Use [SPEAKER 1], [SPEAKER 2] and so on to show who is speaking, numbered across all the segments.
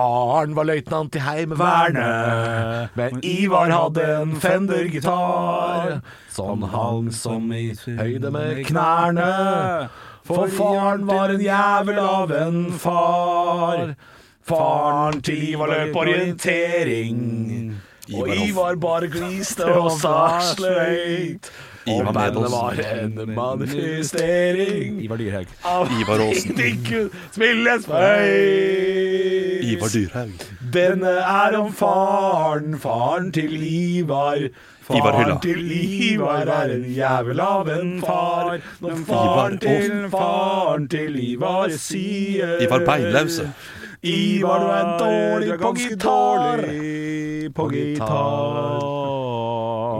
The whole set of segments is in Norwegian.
[SPEAKER 1] Faren var løytnant i Heimevernet, men Ivar hadde en Fender-gitar. Sånn hang som i høyde med knærne, for faren var en jævel av en far. Faren til Ivar løp orientering. Og
[SPEAKER 2] Ivar Hoff.
[SPEAKER 1] Ivar bare gliste og sa sløyt. Og
[SPEAKER 2] Ivar
[SPEAKER 1] bandet
[SPEAKER 2] Medås.
[SPEAKER 1] var en manifestering
[SPEAKER 3] Ivar Dyrhaug.
[SPEAKER 1] av
[SPEAKER 2] Ivar Aasen.
[SPEAKER 1] Ikke spilles feil.
[SPEAKER 2] Ivar Dyrhaug.
[SPEAKER 1] Denne er om faren, faren til Ivar. Faren
[SPEAKER 2] Ivar Hylla.
[SPEAKER 1] til Ivar er en jævel av en far. Når faren
[SPEAKER 2] Ivar
[SPEAKER 1] til faren til Ivar sier
[SPEAKER 2] Ivar Beinlause.
[SPEAKER 1] Ivar, du er dårlig på gitar. På gitar.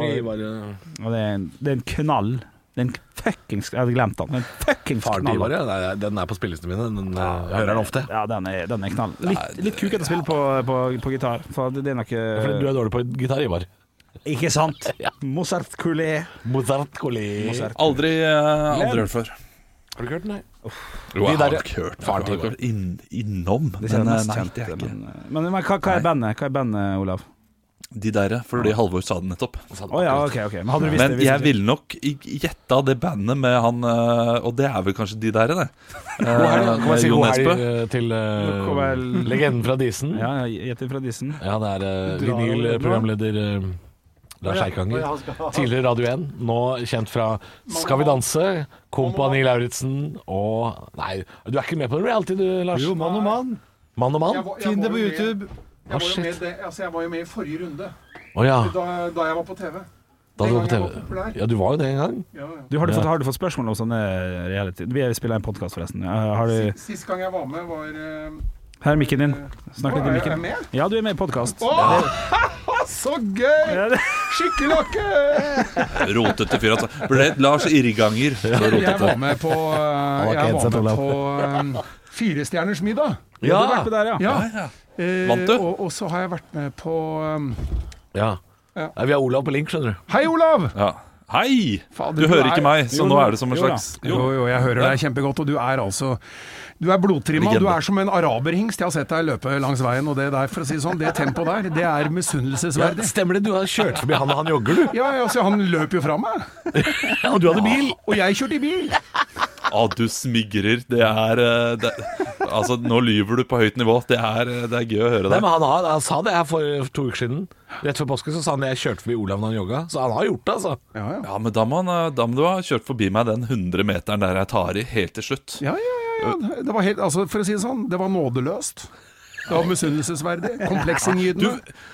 [SPEAKER 1] Ivar, ja.
[SPEAKER 3] Og det er en, det er en knall. Det er en fuckings Jeg hadde glemt den. Det er en fuckings
[SPEAKER 1] Faren til
[SPEAKER 3] knall.
[SPEAKER 1] Ivar, ja. Nei, Den er på spillelistene mine. Den, eh, jeg hører den ofte.
[SPEAKER 3] Ja, den er, den er knall. Litt, litt kukete spill på, på, på gitar, for det er nok eh,
[SPEAKER 1] Du er dårlig på gitar, Ivar.
[SPEAKER 3] Ikke sant? Mozart-kulé.
[SPEAKER 1] Mozart Collet.
[SPEAKER 3] Mozart.
[SPEAKER 2] Aldri, eh, aldri hørt før.
[SPEAKER 1] Har du ikke hørt den, nei?
[SPEAKER 2] Jo, jeg
[SPEAKER 1] De
[SPEAKER 2] har
[SPEAKER 1] der-
[SPEAKER 2] ikke hørt
[SPEAKER 1] Faren
[SPEAKER 2] faren
[SPEAKER 1] til
[SPEAKER 2] til
[SPEAKER 1] Ivar.
[SPEAKER 2] inn, innom.
[SPEAKER 3] Det er
[SPEAKER 2] men,
[SPEAKER 3] den
[SPEAKER 2] eh,
[SPEAKER 3] mest
[SPEAKER 2] nei,
[SPEAKER 3] kjente.
[SPEAKER 2] det er
[SPEAKER 3] Men, eh,
[SPEAKER 2] ikke.
[SPEAKER 3] men, men hva, hva er bandet, hva er bandet Olav?
[SPEAKER 2] De derre, fordi Halvor sa det nettopp.
[SPEAKER 3] Å ja, OK. ok Men hadde du visst
[SPEAKER 2] Men
[SPEAKER 3] det? visst
[SPEAKER 2] jeg
[SPEAKER 3] det-
[SPEAKER 2] ville nok gjette av det bandet med han eh, Og det er vel kanskje de der, det. Eh,
[SPEAKER 1] God helg, kan man
[SPEAKER 2] med
[SPEAKER 1] si
[SPEAKER 2] Jo
[SPEAKER 1] god
[SPEAKER 2] Nesbø.
[SPEAKER 1] helg eh, til eh,
[SPEAKER 3] God helg.
[SPEAKER 1] legenden fra Disen? Ja,
[SPEAKER 3] Ja, ja, Gjett fra Dissen.
[SPEAKER 1] det er eh,
[SPEAKER 3] Du drar over nå.
[SPEAKER 1] vinylprogramleder eh, Lars Eikanger. Tidligere Radio 1, nå kjent fra Skal vi danse, Kompani Lauritzen og Nei, du er ikke med på den reality, du, Lars?
[SPEAKER 4] Jo, mann og mann.
[SPEAKER 1] Mann og mann?
[SPEAKER 4] Jeg var- jeg
[SPEAKER 1] Å
[SPEAKER 4] var
[SPEAKER 1] ja.
[SPEAKER 4] jo med-
[SPEAKER 1] Å,
[SPEAKER 4] Jeg var, jo med,
[SPEAKER 1] Ah, shit.
[SPEAKER 4] det, altså jeg var jo med i forrige runde,
[SPEAKER 1] Da
[SPEAKER 4] da, da jeg var på TV.
[SPEAKER 1] du var på
[SPEAKER 4] gang jeg var
[SPEAKER 1] TV.
[SPEAKER 4] populær.
[SPEAKER 1] Ja, du var jo det en gang.
[SPEAKER 4] Ja, ja.
[SPEAKER 3] Du, har, du fått, har du fått spørsmål om sånne reality? Vi spiller en podkast, forresten. Eh, Har du,
[SPEAKER 4] Sist, sist gang jeg var med, var eh,
[SPEAKER 3] her er mikken din. Snakk litt
[SPEAKER 4] Å,
[SPEAKER 3] i
[SPEAKER 4] er- er jeg
[SPEAKER 3] mikken.
[SPEAKER 4] med?
[SPEAKER 3] Ja, du er med i podkast.
[SPEAKER 4] Å, så gøy! Skikkelig lakke!
[SPEAKER 2] Rotete fyr, altså. Ble det Lars Irrganger. Så
[SPEAKER 4] Jeg var
[SPEAKER 2] rotete.
[SPEAKER 4] med på, eh,
[SPEAKER 1] var ikke
[SPEAKER 4] jeg
[SPEAKER 1] headset,
[SPEAKER 4] var
[SPEAKER 1] Olav.
[SPEAKER 4] med på eh, Firestjerners middag.
[SPEAKER 3] Ja, du har vært med der, ja.
[SPEAKER 4] Ja.
[SPEAKER 2] Ja, ja.
[SPEAKER 4] Eh,
[SPEAKER 2] Vant du?
[SPEAKER 4] Og, og så har jeg vært med på eh,
[SPEAKER 1] Ja.
[SPEAKER 4] Ja.
[SPEAKER 1] Nei, Vi har Olav på link, skjønner du.
[SPEAKER 4] Hei, Olav!
[SPEAKER 2] Ja. Hei!
[SPEAKER 4] Fader,
[SPEAKER 2] Du hører
[SPEAKER 4] er-
[SPEAKER 2] ikke meg, så
[SPEAKER 3] Jo,
[SPEAKER 2] nå
[SPEAKER 3] da.
[SPEAKER 2] er det som en
[SPEAKER 3] Jo, da.
[SPEAKER 2] slags
[SPEAKER 4] Jo, jo, jeg hører deg kjempegodt, og du er altså Du er blodtrimma.
[SPEAKER 2] Legende.
[SPEAKER 4] Du er som en araberhingst. Jeg har sett deg løpe langs veien, og det der, for å si det sånn, det tempoet der, det er
[SPEAKER 1] Ja,
[SPEAKER 4] misunnelsesverdig.
[SPEAKER 1] stemmer det, du har kjørt forbi han og han jogger, du.
[SPEAKER 4] Ja, ja, så han løp jo fra meg.
[SPEAKER 1] Ja, og du hadde bil.
[SPEAKER 4] Og jeg kjørte i bil.
[SPEAKER 2] Ah, du smigrer. Det er eh, det, Altså, nå lyver du på høyt nivå. Det er, eh, det er gøy å høre
[SPEAKER 1] Nei,
[SPEAKER 2] det.
[SPEAKER 1] men han, har, han sa det her for to uker siden. Rett før påske så sa han jeg kjørte forbi Olav når han jogga. Så han har gjort det, altså.
[SPEAKER 4] Ja, ja.
[SPEAKER 2] Ja, men da må, han, eh, da må du ha kjørt forbi meg den 100 meteren der jeg tar i, helt til slutt.
[SPEAKER 4] Ja, ja, ja, ja. Det var helt, altså, for å si det sånn, det var nådeløst. Det var misunnelsesverdig. Kompleksinngytende.
[SPEAKER 2] Eh,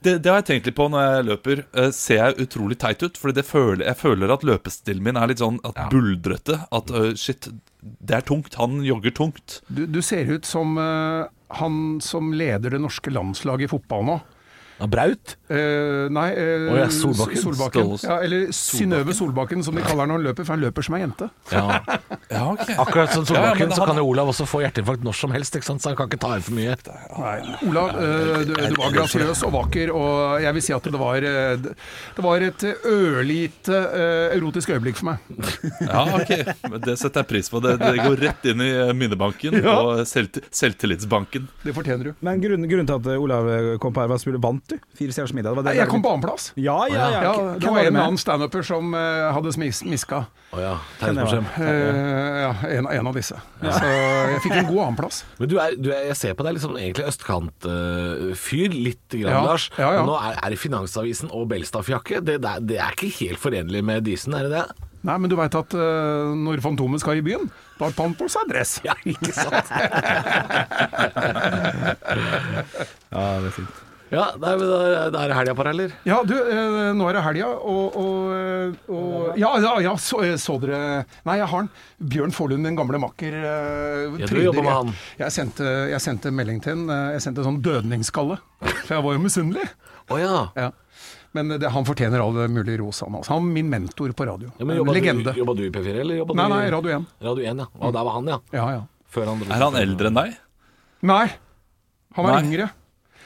[SPEAKER 2] Det, det har jeg tenkt litt på når jeg løper. Eh, Ser jeg utrolig teit ut? Fordi det føler, jeg føler at løpestilen min er litt sånn at buldrete. At eh, shit, det er tungt. Han jogger tungt.
[SPEAKER 4] Du, du ser ut som eh, han som leder det norske landslaget i fotball nå.
[SPEAKER 1] altså. Han braut.
[SPEAKER 4] Eh, nei eh,
[SPEAKER 1] Å, ja, Solbakken.
[SPEAKER 4] Solbakken.
[SPEAKER 2] Ståle-
[SPEAKER 4] Ja, eller Synnøve Solbakken, som de kaller han når han løper, for han løper som ei jente.
[SPEAKER 2] Ja, ok.
[SPEAKER 1] Akkurat som
[SPEAKER 2] Ja, ja,
[SPEAKER 1] Solbakken,
[SPEAKER 2] men
[SPEAKER 1] så
[SPEAKER 2] han-
[SPEAKER 1] kan jo Olav også få hjerteinfarkt når som helst, ikke sant? så han kan ikke ta inn for mye.
[SPEAKER 4] Olav, eh, du, du var grasiøs og vakker, og jeg vil si at det var, eh, det var et ørlite eh, erotisk øyeblikk for meg.
[SPEAKER 2] Ja, ok. Men Det setter jeg pris på. Det, det går rett inn i minnebanken og selvti- selvtillitsbanken.
[SPEAKER 4] Det fortjener du.
[SPEAKER 3] Men grunnen, grunnen til at eh, Olav kom på her, var at du vant, du. Fire stjerners middag. Det var
[SPEAKER 4] Nei,
[SPEAKER 3] det
[SPEAKER 4] Jeg kom på annenplass.
[SPEAKER 3] Ja, ja, ja.
[SPEAKER 4] Ja,
[SPEAKER 3] Hvem
[SPEAKER 4] det var en
[SPEAKER 3] med?
[SPEAKER 4] annen standuper som eh, hadde smis miska.
[SPEAKER 1] Å ja,
[SPEAKER 3] Hvem det var?
[SPEAKER 1] tegneproblem.
[SPEAKER 4] Eh, ja, en, en av disse. Så jeg fikk en god annenplass.
[SPEAKER 1] Men du er, du er, jeg ser på deg litt som egentlig østkantfyr, litt grann,
[SPEAKER 4] Ja,
[SPEAKER 1] Lars.
[SPEAKER 4] ja, ja.
[SPEAKER 1] Men Nå er, er det Finansavisen og Belstaff-jakke. Det, der- det er ikke helt forenlig med Disen, er det det?
[SPEAKER 4] Nei, men du veit at eh, når Fantomet skal i byen, da har han på seg dress.
[SPEAKER 1] Ja, ikke sant?
[SPEAKER 3] Ja, det er fint.
[SPEAKER 1] Ja, nei, men da da er det helga paralleller.
[SPEAKER 4] Ja, du, eh, nå er det helga, og, og, og Ja, ja, ja så, eh, så dere Nei, jeg har den. Bjørn Forlund, min gamle makker. eh,
[SPEAKER 1] Ja, du
[SPEAKER 4] tryder.
[SPEAKER 1] jobber med han.
[SPEAKER 4] Jeg, jeg, sendte, jeg sendte melding til han. eh, Jeg sendte sånn dødningsskalle. For jeg var jo misunnelig.
[SPEAKER 1] Å ja.
[SPEAKER 4] Ja. Men det, han fortjener all mulig ros, han altså. Han er min mentor på radio.
[SPEAKER 1] ja men
[SPEAKER 4] en
[SPEAKER 1] jobba du,
[SPEAKER 4] legende.
[SPEAKER 1] jobba du i P4, eller jobba
[SPEAKER 4] Nei,
[SPEAKER 1] du i
[SPEAKER 4] nei, Radio 1.
[SPEAKER 1] Radio 1, ja. Og der var han, ja.
[SPEAKER 4] Ja, ja.
[SPEAKER 1] Før han dro.
[SPEAKER 2] Er han eldre enn deg?
[SPEAKER 4] Nei, han var
[SPEAKER 2] Nei.
[SPEAKER 4] yngre.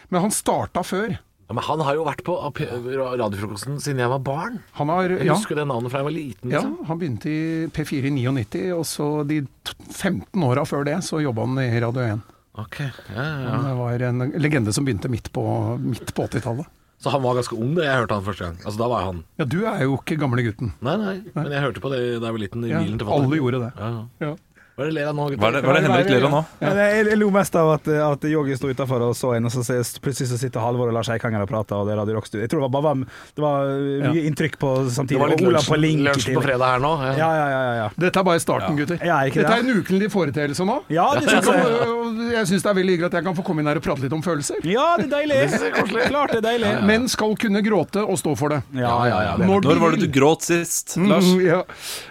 [SPEAKER 4] Men han starta før.
[SPEAKER 1] Ja, men han har jo vært på AP- radiofrokosten siden jeg var barn.
[SPEAKER 4] Han har
[SPEAKER 1] Jeg
[SPEAKER 4] ja,
[SPEAKER 1] husker det navnet fra jeg var liten.
[SPEAKER 4] ja,
[SPEAKER 1] Liksom.
[SPEAKER 4] han begynte i P4 i 99, og så de t- 15 åra før det så jobba han i Radio 1.
[SPEAKER 1] Ok, ja, ja, ja.
[SPEAKER 4] Det var en legende som begynte midt på, midt på 80-tallet.
[SPEAKER 1] Så han var ganske ung da jeg hørte han første gang. Altså, da var han
[SPEAKER 4] Ja, du er jo ikke gamle gutten.
[SPEAKER 1] Nei, nei, men jeg hørte på det da jeg var liten, i
[SPEAKER 4] Ja,
[SPEAKER 1] bilen til fatteren.
[SPEAKER 4] alle gjorde det.
[SPEAKER 1] Ja.
[SPEAKER 4] Ja.
[SPEAKER 1] Hva er det ler av nå, gutter?
[SPEAKER 2] Hva er det, hva er det Henrik ler av nå?
[SPEAKER 3] Ja, nei, jeg, jeg lo mest av at, eh, at Yogi sto utafor og så en, og så ser- plutselig så sitter Halvor og Lars Eikanger og prater, og det er Radio Rockstudio. Jeg tror det var, bare, det var eh, mye inntrykk på samtidig.
[SPEAKER 1] Det var litt
[SPEAKER 3] og Olav
[SPEAKER 1] lunsj på,
[SPEAKER 3] på link i
[SPEAKER 1] lunsj på
[SPEAKER 3] tillegg.
[SPEAKER 1] fredag her nå. Ja.
[SPEAKER 3] Ja, ja, ja. ja, ja.
[SPEAKER 4] Dette er bare starten, gutter.
[SPEAKER 3] Ja, er ikke
[SPEAKER 4] Dette er
[SPEAKER 3] det?
[SPEAKER 4] en ukentlig foreteelse nå.
[SPEAKER 3] ja det
[SPEAKER 4] Jeg,
[SPEAKER 3] syns
[SPEAKER 4] kan,
[SPEAKER 3] jeg.
[SPEAKER 4] øh, jeg syns det er veldig hyggelig at jeg kan få komme inn her og prate litt om følelser.
[SPEAKER 3] Ja, det er deilig. Klart det er deilig.
[SPEAKER 4] Men skal kunne gråte og stå for det.
[SPEAKER 3] Ja, ja, ja.
[SPEAKER 4] Når
[SPEAKER 2] Når var det du gråt sist, Lars?
[SPEAKER 4] Mm, ja.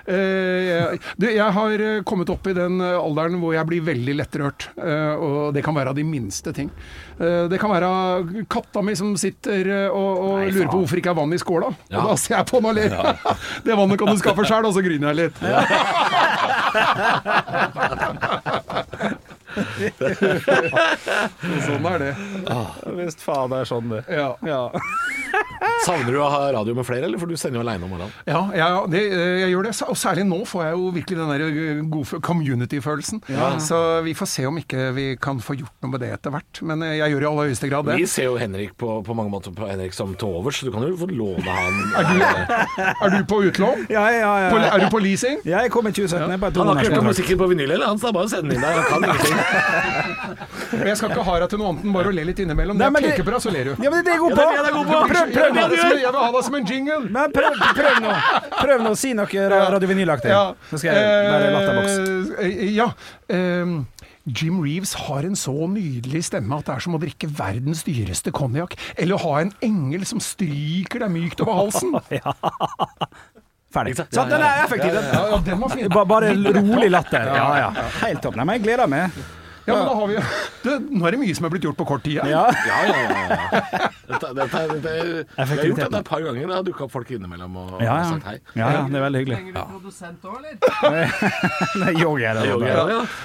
[SPEAKER 4] Eh, jeg- du, jeg har eh, kommet opp i den eh, alderen hvor jeg blir veldig lettrørt. eh, og det kan være av de minste ting. Eh, det kan være katta mi som sitter eh, og, og
[SPEAKER 3] Nei,
[SPEAKER 4] lurer på
[SPEAKER 3] faen.
[SPEAKER 4] hvorfor ikke er vann i skåla.
[SPEAKER 1] Ja.
[SPEAKER 4] Og da ser jeg på den og ler. det vannet kan du skaffe sjæl, og så griner jeg litt. Og sånn er det.
[SPEAKER 3] Hvis faen det er sånn, det.
[SPEAKER 4] Ja.
[SPEAKER 3] Ja.
[SPEAKER 1] Savner du å ha radio med flere, eller for du sender jo aleine om morgenen?
[SPEAKER 4] Ja, ja ja, det, eh, jeg gjør det. Og særlig nå får jeg jo virkelig den der eh, gode community-følelsen. Så vi får se om ikke vi kan få gjort noe med det etter hvert. Men eh, jeg gjør i aller høyeste grad det.
[SPEAKER 1] Vi ser jo Henrik på, på mange måter på Henrik som til overs, så du kan jo få låne han. eh,
[SPEAKER 4] Er du på utlån?
[SPEAKER 3] Ja, ja, ja.
[SPEAKER 4] På, er du på leasing?
[SPEAKER 3] Ja, jeg kom i 2017. Jeg er på et
[SPEAKER 1] Han har ikke hørt om
[SPEAKER 3] donorkontrakt.
[SPEAKER 1] musikken på vinyl, eller? Han sa bare å sende den inn der, han kan ingenting.
[SPEAKER 4] Og jeg skal ikke ha deg til noe annet enn bare å le litt innimellom.
[SPEAKER 3] Nei,
[SPEAKER 4] Når
[SPEAKER 3] men det-
[SPEAKER 4] jeg peker på deg, så ler du.
[SPEAKER 3] Ja, men det er det jeg er god
[SPEAKER 1] det
[SPEAKER 3] på!
[SPEAKER 1] er det jeg er god på.
[SPEAKER 3] Prøv,
[SPEAKER 4] Jeg
[SPEAKER 3] prøv
[SPEAKER 4] vil ha
[SPEAKER 3] nå!
[SPEAKER 4] det som, jeg vil ha deg som en jingle!
[SPEAKER 3] Men prøv, prøv nå. Prøv nå å si noe ra- Radio Vinyl-aktig.
[SPEAKER 4] Ja.
[SPEAKER 3] Så skal jeg være latterboks.
[SPEAKER 4] Eh, eh, Ja. Ehm, Jim Reeves har en så nydelig stemme at det er som å drikke verdens dyreste konjakk, eller å ha en engel som stryker deg mykt over halsen.
[SPEAKER 3] Ferdig. Sånn, den er effektiv. den.
[SPEAKER 4] Ja, ja, den var fin.
[SPEAKER 3] Ba- Bare rolig latter. Ja, ja. Helt topp. Nei, men jeg gleder meg.
[SPEAKER 4] Ja, men da har vi jo du, Nå er det mye som er blitt gjort på kort tid. her.
[SPEAKER 3] Ja.
[SPEAKER 1] Ja, ja, ja. ja. Dette, dette, er- dette, er- jeg har gjort dette et par ganger. Det har dukka opp folk innimellom og, og
[SPEAKER 3] Ja, ja.
[SPEAKER 1] sagt hei.
[SPEAKER 3] ja, ja, det er veldig hyggelig.
[SPEAKER 5] Trenger du produsent òg, eller?
[SPEAKER 3] Nei, yogi er det.
[SPEAKER 1] Jo,
[SPEAKER 3] da.
[SPEAKER 1] ja, ja.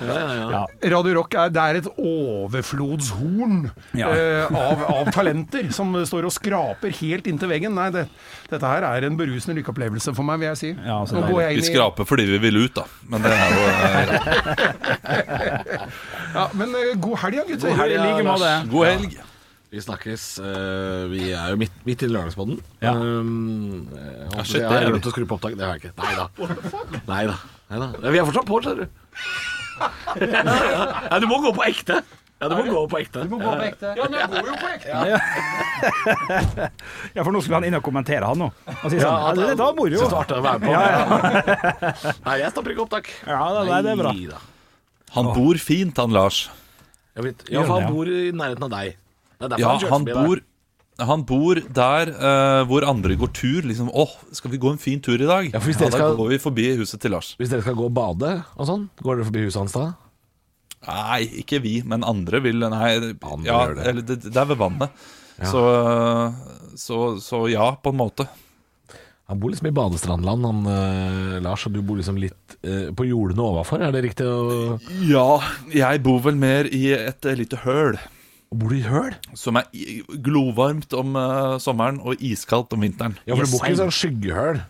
[SPEAKER 1] Ja, ja, ja.
[SPEAKER 4] Radio Rock er, det er et overflodshorn
[SPEAKER 3] Ja.
[SPEAKER 4] eh, av, av talenter som står og skraper helt inntil veggen. Nei, det, dette her er en berusende lykkeopplevelse for meg, vil jeg si.
[SPEAKER 3] Ja, så
[SPEAKER 4] Nå
[SPEAKER 3] deilig.
[SPEAKER 4] går jeg
[SPEAKER 2] Vi
[SPEAKER 4] inn i-
[SPEAKER 2] skraper fordi vi ville ut, da. Men det er jo eh,
[SPEAKER 4] Ja, men eh, god helg, ja, gutter.
[SPEAKER 1] God helg,
[SPEAKER 3] I like
[SPEAKER 1] Lars.
[SPEAKER 3] måte.
[SPEAKER 2] god helg.
[SPEAKER 1] Vi snakkes. eh, vi er jo midt, midt i lørdagspodden.
[SPEAKER 3] Ja.
[SPEAKER 1] Um, jeg håper-
[SPEAKER 2] shit,
[SPEAKER 1] jeg har
[SPEAKER 2] det er
[SPEAKER 1] glemt å skru på opptaket. Det har jeg ikke. Nei da. Nei da. Vi er fortsatt på, ser du. Ja, du må gå på ekte. Ja, du må gå på ekte.
[SPEAKER 4] Ja, men jeg går jo på ekte.
[SPEAKER 3] Ja, for nå skulle han inn og kommentere, han nå. Og si sånn
[SPEAKER 1] Ja,
[SPEAKER 3] Ja, det var moro.
[SPEAKER 1] Synes det var artig å være med på.
[SPEAKER 3] Ja, ja.
[SPEAKER 1] Nei, jeg stopper ikke opptak.
[SPEAKER 3] Ja, da, nei, det er bra.
[SPEAKER 1] Neida.
[SPEAKER 2] Han bor fint, han Lars.
[SPEAKER 1] Jeg vet, ja, for han bor i nærheten av deg. Det er derfor
[SPEAKER 2] Ja,
[SPEAKER 1] kjørte
[SPEAKER 2] han
[SPEAKER 1] forbi
[SPEAKER 2] bor
[SPEAKER 1] der.
[SPEAKER 2] han bor der eh, hvor andre går tur. Liksom, 'Å, skal vi gå en fin tur i dag?' Ja,
[SPEAKER 1] for hvis dere
[SPEAKER 2] da
[SPEAKER 1] skal-
[SPEAKER 2] går vi forbi huset til Lars.
[SPEAKER 1] Hvis dere skal gå og bade og sånn, går dere forbi huset hans da?
[SPEAKER 2] Nei, ikke vi, men andre vil Nei, eh,
[SPEAKER 1] Andre
[SPEAKER 2] ja,
[SPEAKER 1] gjør det.
[SPEAKER 2] eller det, det er ved vannet. Så, eh, så, så ja, på en måte.
[SPEAKER 1] Han bor liksom i badestrandland, han eh, Lars, og du bor liksom litt eh, på jordene overfor. Er det riktig? å-
[SPEAKER 2] Ja, jeg bor vel mer i et eh, lite høl.
[SPEAKER 1] Og bor du i høl?
[SPEAKER 2] Som er i- glovarmt om eh, sommeren og iskaldt om vinteren.
[SPEAKER 1] Ja, for du bor ikke i
[SPEAKER 2] Yes,
[SPEAKER 1] sånn skyggehøl.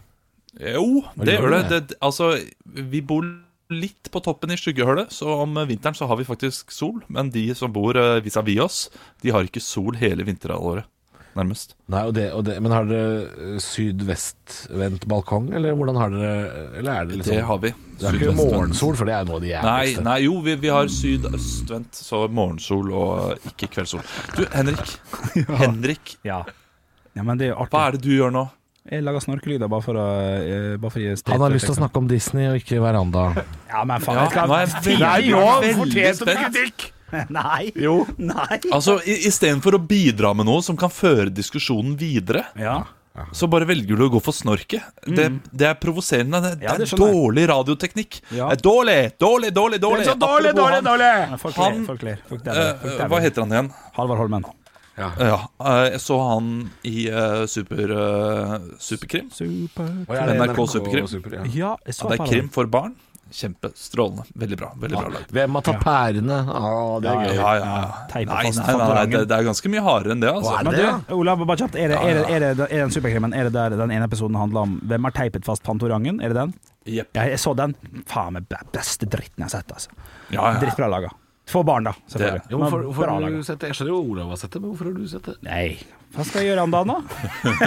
[SPEAKER 2] Jo, det
[SPEAKER 1] gjør
[SPEAKER 2] gjør det.
[SPEAKER 1] du
[SPEAKER 2] det. det- Altså, vi bor litt på toppen i skyggehølet, så om eh, vinteren så har vi faktisk sol. Men de som bor eh, vis-à-vis oss, de har ikke sol hele vinterhalvåret, nærmest.
[SPEAKER 1] Nei, og det, og det, men har dere eh, sydvestvendt balkong, eller hvordan har dere Eller er det liksom
[SPEAKER 2] Det har vi.
[SPEAKER 1] Det er ikke
[SPEAKER 2] Sydvestvendt.
[SPEAKER 1] morgensol, for det er noe av det
[SPEAKER 2] Nei,
[SPEAKER 1] jævligste.
[SPEAKER 2] nei, jo, vi, vi har sydøstvendt, så morgensol og ikke kveldssol. Du, Henrik. Henrik,
[SPEAKER 3] Ja. ja, men det er jo
[SPEAKER 2] hva
[SPEAKER 3] artig.
[SPEAKER 2] er det du gjør nå?
[SPEAKER 3] Jeg lager snorkelyder bare for å eh, bare for å gi straight-
[SPEAKER 1] Han har lyst til å snakke om Disney og ikke veranda.
[SPEAKER 3] Ja, men faen.
[SPEAKER 2] Ja,
[SPEAKER 3] jeg skal-
[SPEAKER 2] nå er jeg veldig, veldig spent.
[SPEAKER 3] Nei. Nei.
[SPEAKER 2] Altså, i- Istedenfor å bidra med noe som kan føre diskusjonen videre,
[SPEAKER 3] Ja.
[SPEAKER 2] så bare velger du å gå for snorket. Det, det er provoserende. Det,
[SPEAKER 3] Ja, det
[SPEAKER 2] det er
[SPEAKER 3] skjønner jeg.
[SPEAKER 2] dårlig radioteknikk.
[SPEAKER 3] Ja.
[SPEAKER 2] Det er Dårlig, dårlig, dårlig, dårlig. Apropos han,
[SPEAKER 3] Nei, Folk
[SPEAKER 2] Han-
[SPEAKER 3] ler. Folk ler. Folk
[SPEAKER 2] eh,
[SPEAKER 3] dæver. Folk
[SPEAKER 2] hva
[SPEAKER 3] dæver.
[SPEAKER 2] heter han igjen?
[SPEAKER 3] Halvard Holmen.
[SPEAKER 2] Ja, eh, jeg så han i eh, super, eh, Superkrim.
[SPEAKER 3] Super.
[SPEAKER 1] Og jeg er
[SPEAKER 2] NRK Superkrim.
[SPEAKER 1] Super, ja.
[SPEAKER 3] Ja, jeg så
[SPEAKER 2] Ja, det
[SPEAKER 3] på
[SPEAKER 2] er krim for barn. Kjempestrålende. Veldig bra. veldig bra lag.
[SPEAKER 1] Hvem har tatt pærene? Ah, det er gøy.
[SPEAKER 2] Ja, ja. Nei,
[SPEAKER 3] Teip og
[SPEAKER 2] nei,
[SPEAKER 3] fast-
[SPEAKER 2] nei, nei det, det er ganske mye hardere enn det.
[SPEAKER 1] Hva
[SPEAKER 2] altså
[SPEAKER 1] er
[SPEAKER 3] Men
[SPEAKER 1] det?
[SPEAKER 3] du, Olav, bare kjapt. Er det, er det, er det, er det, er den superkrimmen Er det der den ene episoden handler om Hvem har teipet fast Pantorangen? Er det den?
[SPEAKER 2] Jepp.
[SPEAKER 3] Ja, jeg så den. Faen meg be- beste dritten jeg har sett, altså.
[SPEAKER 2] Ja, ja.
[SPEAKER 3] Drittbra laga. For barn, da, selvfølgelig.
[SPEAKER 2] Det-
[SPEAKER 1] Jo, hvorfor,
[SPEAKER 3] Men
[SPEAKER 1] hvorfor
[SPEAKER 3] bra
[SPEAKER 1] har du
[SPEAKER 3] laget.
[SPEAKER 1] sett det? Jeg skjønner jo Olav har sett det, men hvorfor har du sett det?
[SPEAKER 3] Nei, hva skal jeg gjøre om dagen,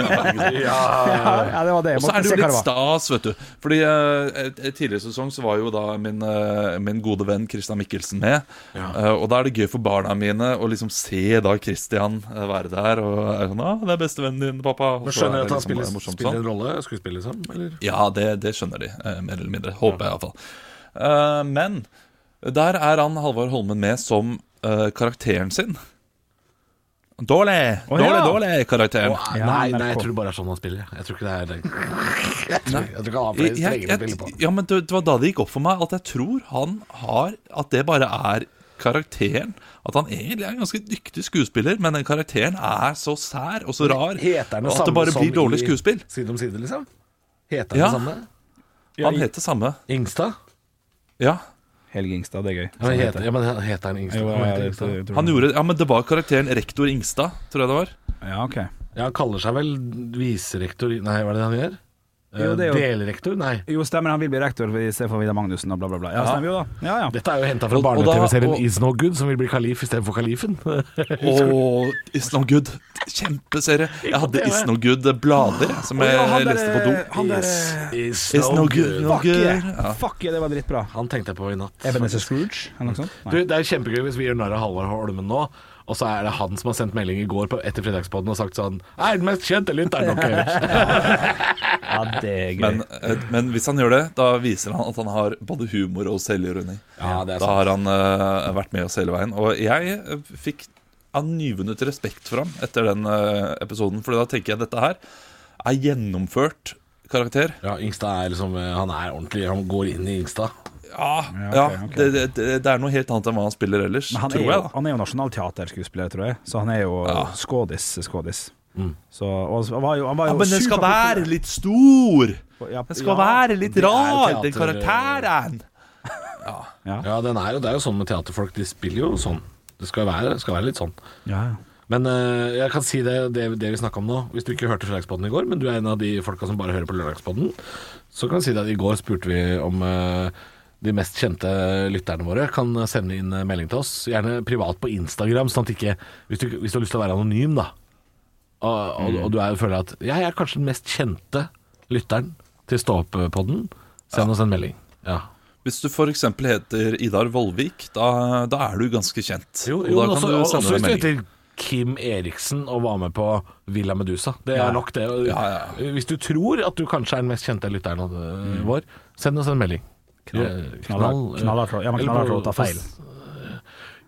[SPEAKER 3] da?
[SPEAKER 1] Ja,
[SPEAKER 3] Ja, det var det jeg
[SPEAKER 2] Og så
[SPEAKER 3] måtte
[SPEAKER 2] er det
[SPEAKER 3] se
[SPEAKER 2] jo
[SPEAKER 3] hva det
[SPEAKER 2] litt
[SPEAKER 3] var.
[SPEAKER 2] stas, vet du. Fordi eh, et- et tidligere sesong så var jo da min, eh, min gode venn Christian Mikkelsen med. Eh, og da er det gøy for barna mine å liksom se da Christian eh, være der. Og er sånn, ah, 'Det er bestevennen din, pappa.' Og
[SPEAKER 1] Men
[SPEAKER 2] så
[SPEAKER 1] skjønner
[SPEAKER 2] er
[SPEAKER 1] jeg at
[SPEAKER 2] det
[SPEAKER 1] han
[SPEAKER 2] liksom
[SPEAKER 1] spiller,
[SPEAKER 2] morsomt
[SPEAKER 1] spiller
[SPEAKER 2] sånn.
[SPEAKER 1] en rolle? Skuespiller, liksom? Eller?
[SPEAKER 2] Ja, det, det skjønner de, eh, mer eller mindre. Håper jeg iallfall. Uh, men der er han Halvor Holmen med som eh, karakteren sin. Dårlig!
[SPEAKER 3] Å,
[SPEAKER 2] dårlig,
[SPEAKER 3] ja.
[SPEAKER 2] dårlig karakter.
[SPEAKER 1] Nei,
[SPEAKER 3] Ja,
[SPEAKER 1] nei,
[SPEAKER 3] NRK.
[SPEAKER 1] nei, jeg tror bare det er sånn han spiller. Jeg tror ikke det er Jeg tror, jeg tror ikke han har flere
[SPEAKER 2] Jeg- jeg-
[SPEAKER 1] strenger å spille på.
[SPEAKER 2] jeg- Ja, men det, det var da det gikk opp for meg at jeg tror han har At det bare er karakteren. At han egentlig er en ganske dyktig skuespiller, men den karakteren er så sær og så rar
[SPEAKER 1] Heter han det
[SPEAKER 2] at det
[SPEAKER 1] samme
[SPEAKER 2] bare
[SPEAKER 1] som
[SPEAKER 2] blir dårlig
[SPEAKER 1] i
[SPEAKER 2] skuespill.
[SPEAKER 1] Side om side, liksom? Heter han
[SPEAKER 2] Ja.
[SPEAKER 1] det samme?
[SPEAKER 2] Han heter samme.
[SPEAKER 1] Ingstad?
[SPEAKER 2] Ja.
[SPEAKER 3] Helge Ingstad, det er gøy.
[SPEAKER 1] Ja, men heter, ja, men heter han Ingstad?
[SPEAKER 3] Jo,
[SPEAKER 1] Han
[SPEAKER 3] ja,
[SPEAKER 1] heter
[SPEAKER 3] det,
[SPEAKER 1] Ingstad.
[SPEAKER 3] tror- tror
[SPEAKER 2] Han
[SPEAKER 3] jeg.
[SPEAKER 2] gjorde Ja, men det var karakteren rektor Ingstad, tror jeg det var.
[SPEAKER 3] Ja, ok.
[SPEAKER 1] Ja, han kaller seg vel viserektor i- Nei, hva er det han gjør? Eh,
[SPEAKER 3] Jo, det er jo-
[SPEAKER 1] Delrektor? Nei.
[SPEAKER 3] Jo, stemmer, han vil bli rektor i stedet for Vidar Magnussen og bla, bla, bla. Ja, stemmer jo da. Ja, ja.
[SPEAKER 1] Dette er jo henta fra
[SPEAKER 2] Og- og da-
[SPEAKER 1] barne-TV-serien
[SPEAKER 2] og-
[SPEAKER 1] Is No Good, som vil bli kalif istedenfor kalifen.
[SPEAKER 2] Og Is No Good. Kjempeserie. Jeg hadde Is No Good-blader jeg, som
[SPEAKER 3] Å, ja, han
[SPEAKER 2] jeg
[SPEAKER 3] der- eh,
[SPEAKER 2] leste på do.
[SPEAKER 3] Han der
[SPEAKER 1] eh, Is
[SPEAKER 2] Is No Good. No
[SPEAKER 3] Fuck yeah!
[SPEAKER 2] good. Ja.
[SPEAKER 3] Fuck yeah, det var dritbra.
[SPEAKER 1] Han tenkte jeg på i natt.
[SPEAKER 3] Ebenezer Scrooge,
[SPEAKER 2] Mm.
[SPEAKER 3] eller noe sånt?
[SPEAKER 1] Du,
[SPEAKER 3] Nei.
[SPEAKER 1] det er kjempegøy hvis vi gjør narr av Halvard Holmen nå, og så er det han som har sendt melding i går på, etter Fredagspodden og sagt sånn Jeg er den mest kjente lytteren deres.
[SPEAKER 3] Ja, det er gøy.
[SPEAKER 2] Men, eh, men hvis han gjør det, da viser han at han har både humor og selvironi.
[SPEAKER 1] Ja, det er
[SPEAKER 2] Da har han eh, vært med oss hele veien. Og jeg eh, fikk av nyvunnet respekt for ham etter den eh, episoden, for da tenker jeg dette her er gjennomført karakter.
[SPEAKER 1] Ja, Ingstad er liksom eh, Han er ordentlig. Han går inn i Ingstad.
[SPEAKER 2] Ja, ja,
[SPEAKER 3] ok, ok.
[SPEAKER 2] Det, det- det, det er noe helt annet enn hva han spiller ellers,
[SPEAKER 3] Men han er,
[SPEAKER 2] tror
[SPEAKER 3] jo,
[SPEAKER 2] jeg. da
[SPEAKER 3] han er jo nasjonalteaterskuespiller, tror jeg. Så han er jo
[SPEAKER 2] Ja. Mm.
[SPEAKER 3] skådis. skådis. Så, og han var jo, han var
[SPEAKER 2] ja,
[SPEAKER 3] jo
[SPEAKER 2] men den skal
[SPEAKER 3] superpopulær.
[SPEAKER 2] være litt stor!
[SPEAKER 3] Ja,
[SPEAKER 2] Den
[SPEAKER 3] ja,
[SPEAKER 2] skal være litt
[SPEAKER 1] det er
[SPEAKER 2] rar, den
[SPEAKER 1] teater-
[SPEAKER 2] karakteren!
[SPEAKER 1] Ja, den er jo, Det er jo sånn med teaterfolk. De spiller jo sånn. Det skal være, skal være litt sånn.
[SPEAKER 3] Ja, ja.
[SPEAKER 1] Men eh, jeg kan si det, det, det vi snakka om nå. Hvis du ikke hørte Fredagspodden i går, men du er en av de folka som bare hører på Lørdagspodden, så kan jeg si det at i går spurte vi om eh, de mest kjente lytterne våre kan sende inn eh, melding til oss. Gjerne privat på Instagram, sånn at ikke Hvis du, hvis du har lyst til å være anonym, da, og, og, og du er, føler at ja, jeg er kanskje den mest kjente lytteren til Stå opp-podden, send oss en melding. Ja.
[SPEAKER 2] Hvis du f.eks. heter Idar Vollvik, da, da er du ganske kjent. Og da
[SPEAKER 1] men
[SPEAKER 2] kan
[SPEAKER 1] også,
[SPEAKER 2] du
[SPEAKER 1] også
[SPEAKER 2] sende
[SPEAKER 1] hvis
[SPEAKER 2] en
[SPEAKER 1] du
[SPEAKER 2] melding.
[SPEAKER 1] heter Kim Eriksen og var med på Villa Medusa. Det er nok det. Eh,
[SPEAKER 2] Ja,
[SPEAKER 1] Hvis du tror at du kanskje er den mest kjente lytteren av, eh, vår, send oss en melding. Eh, eh,
[SPEAKER 3] Knallhard- knallhard flå- ja, men
[SPEAKER 1] eller
[SPEAKER 3] knallhard
[SPEAKER 1] på-
[SPEAKER 3] flåt tar feil.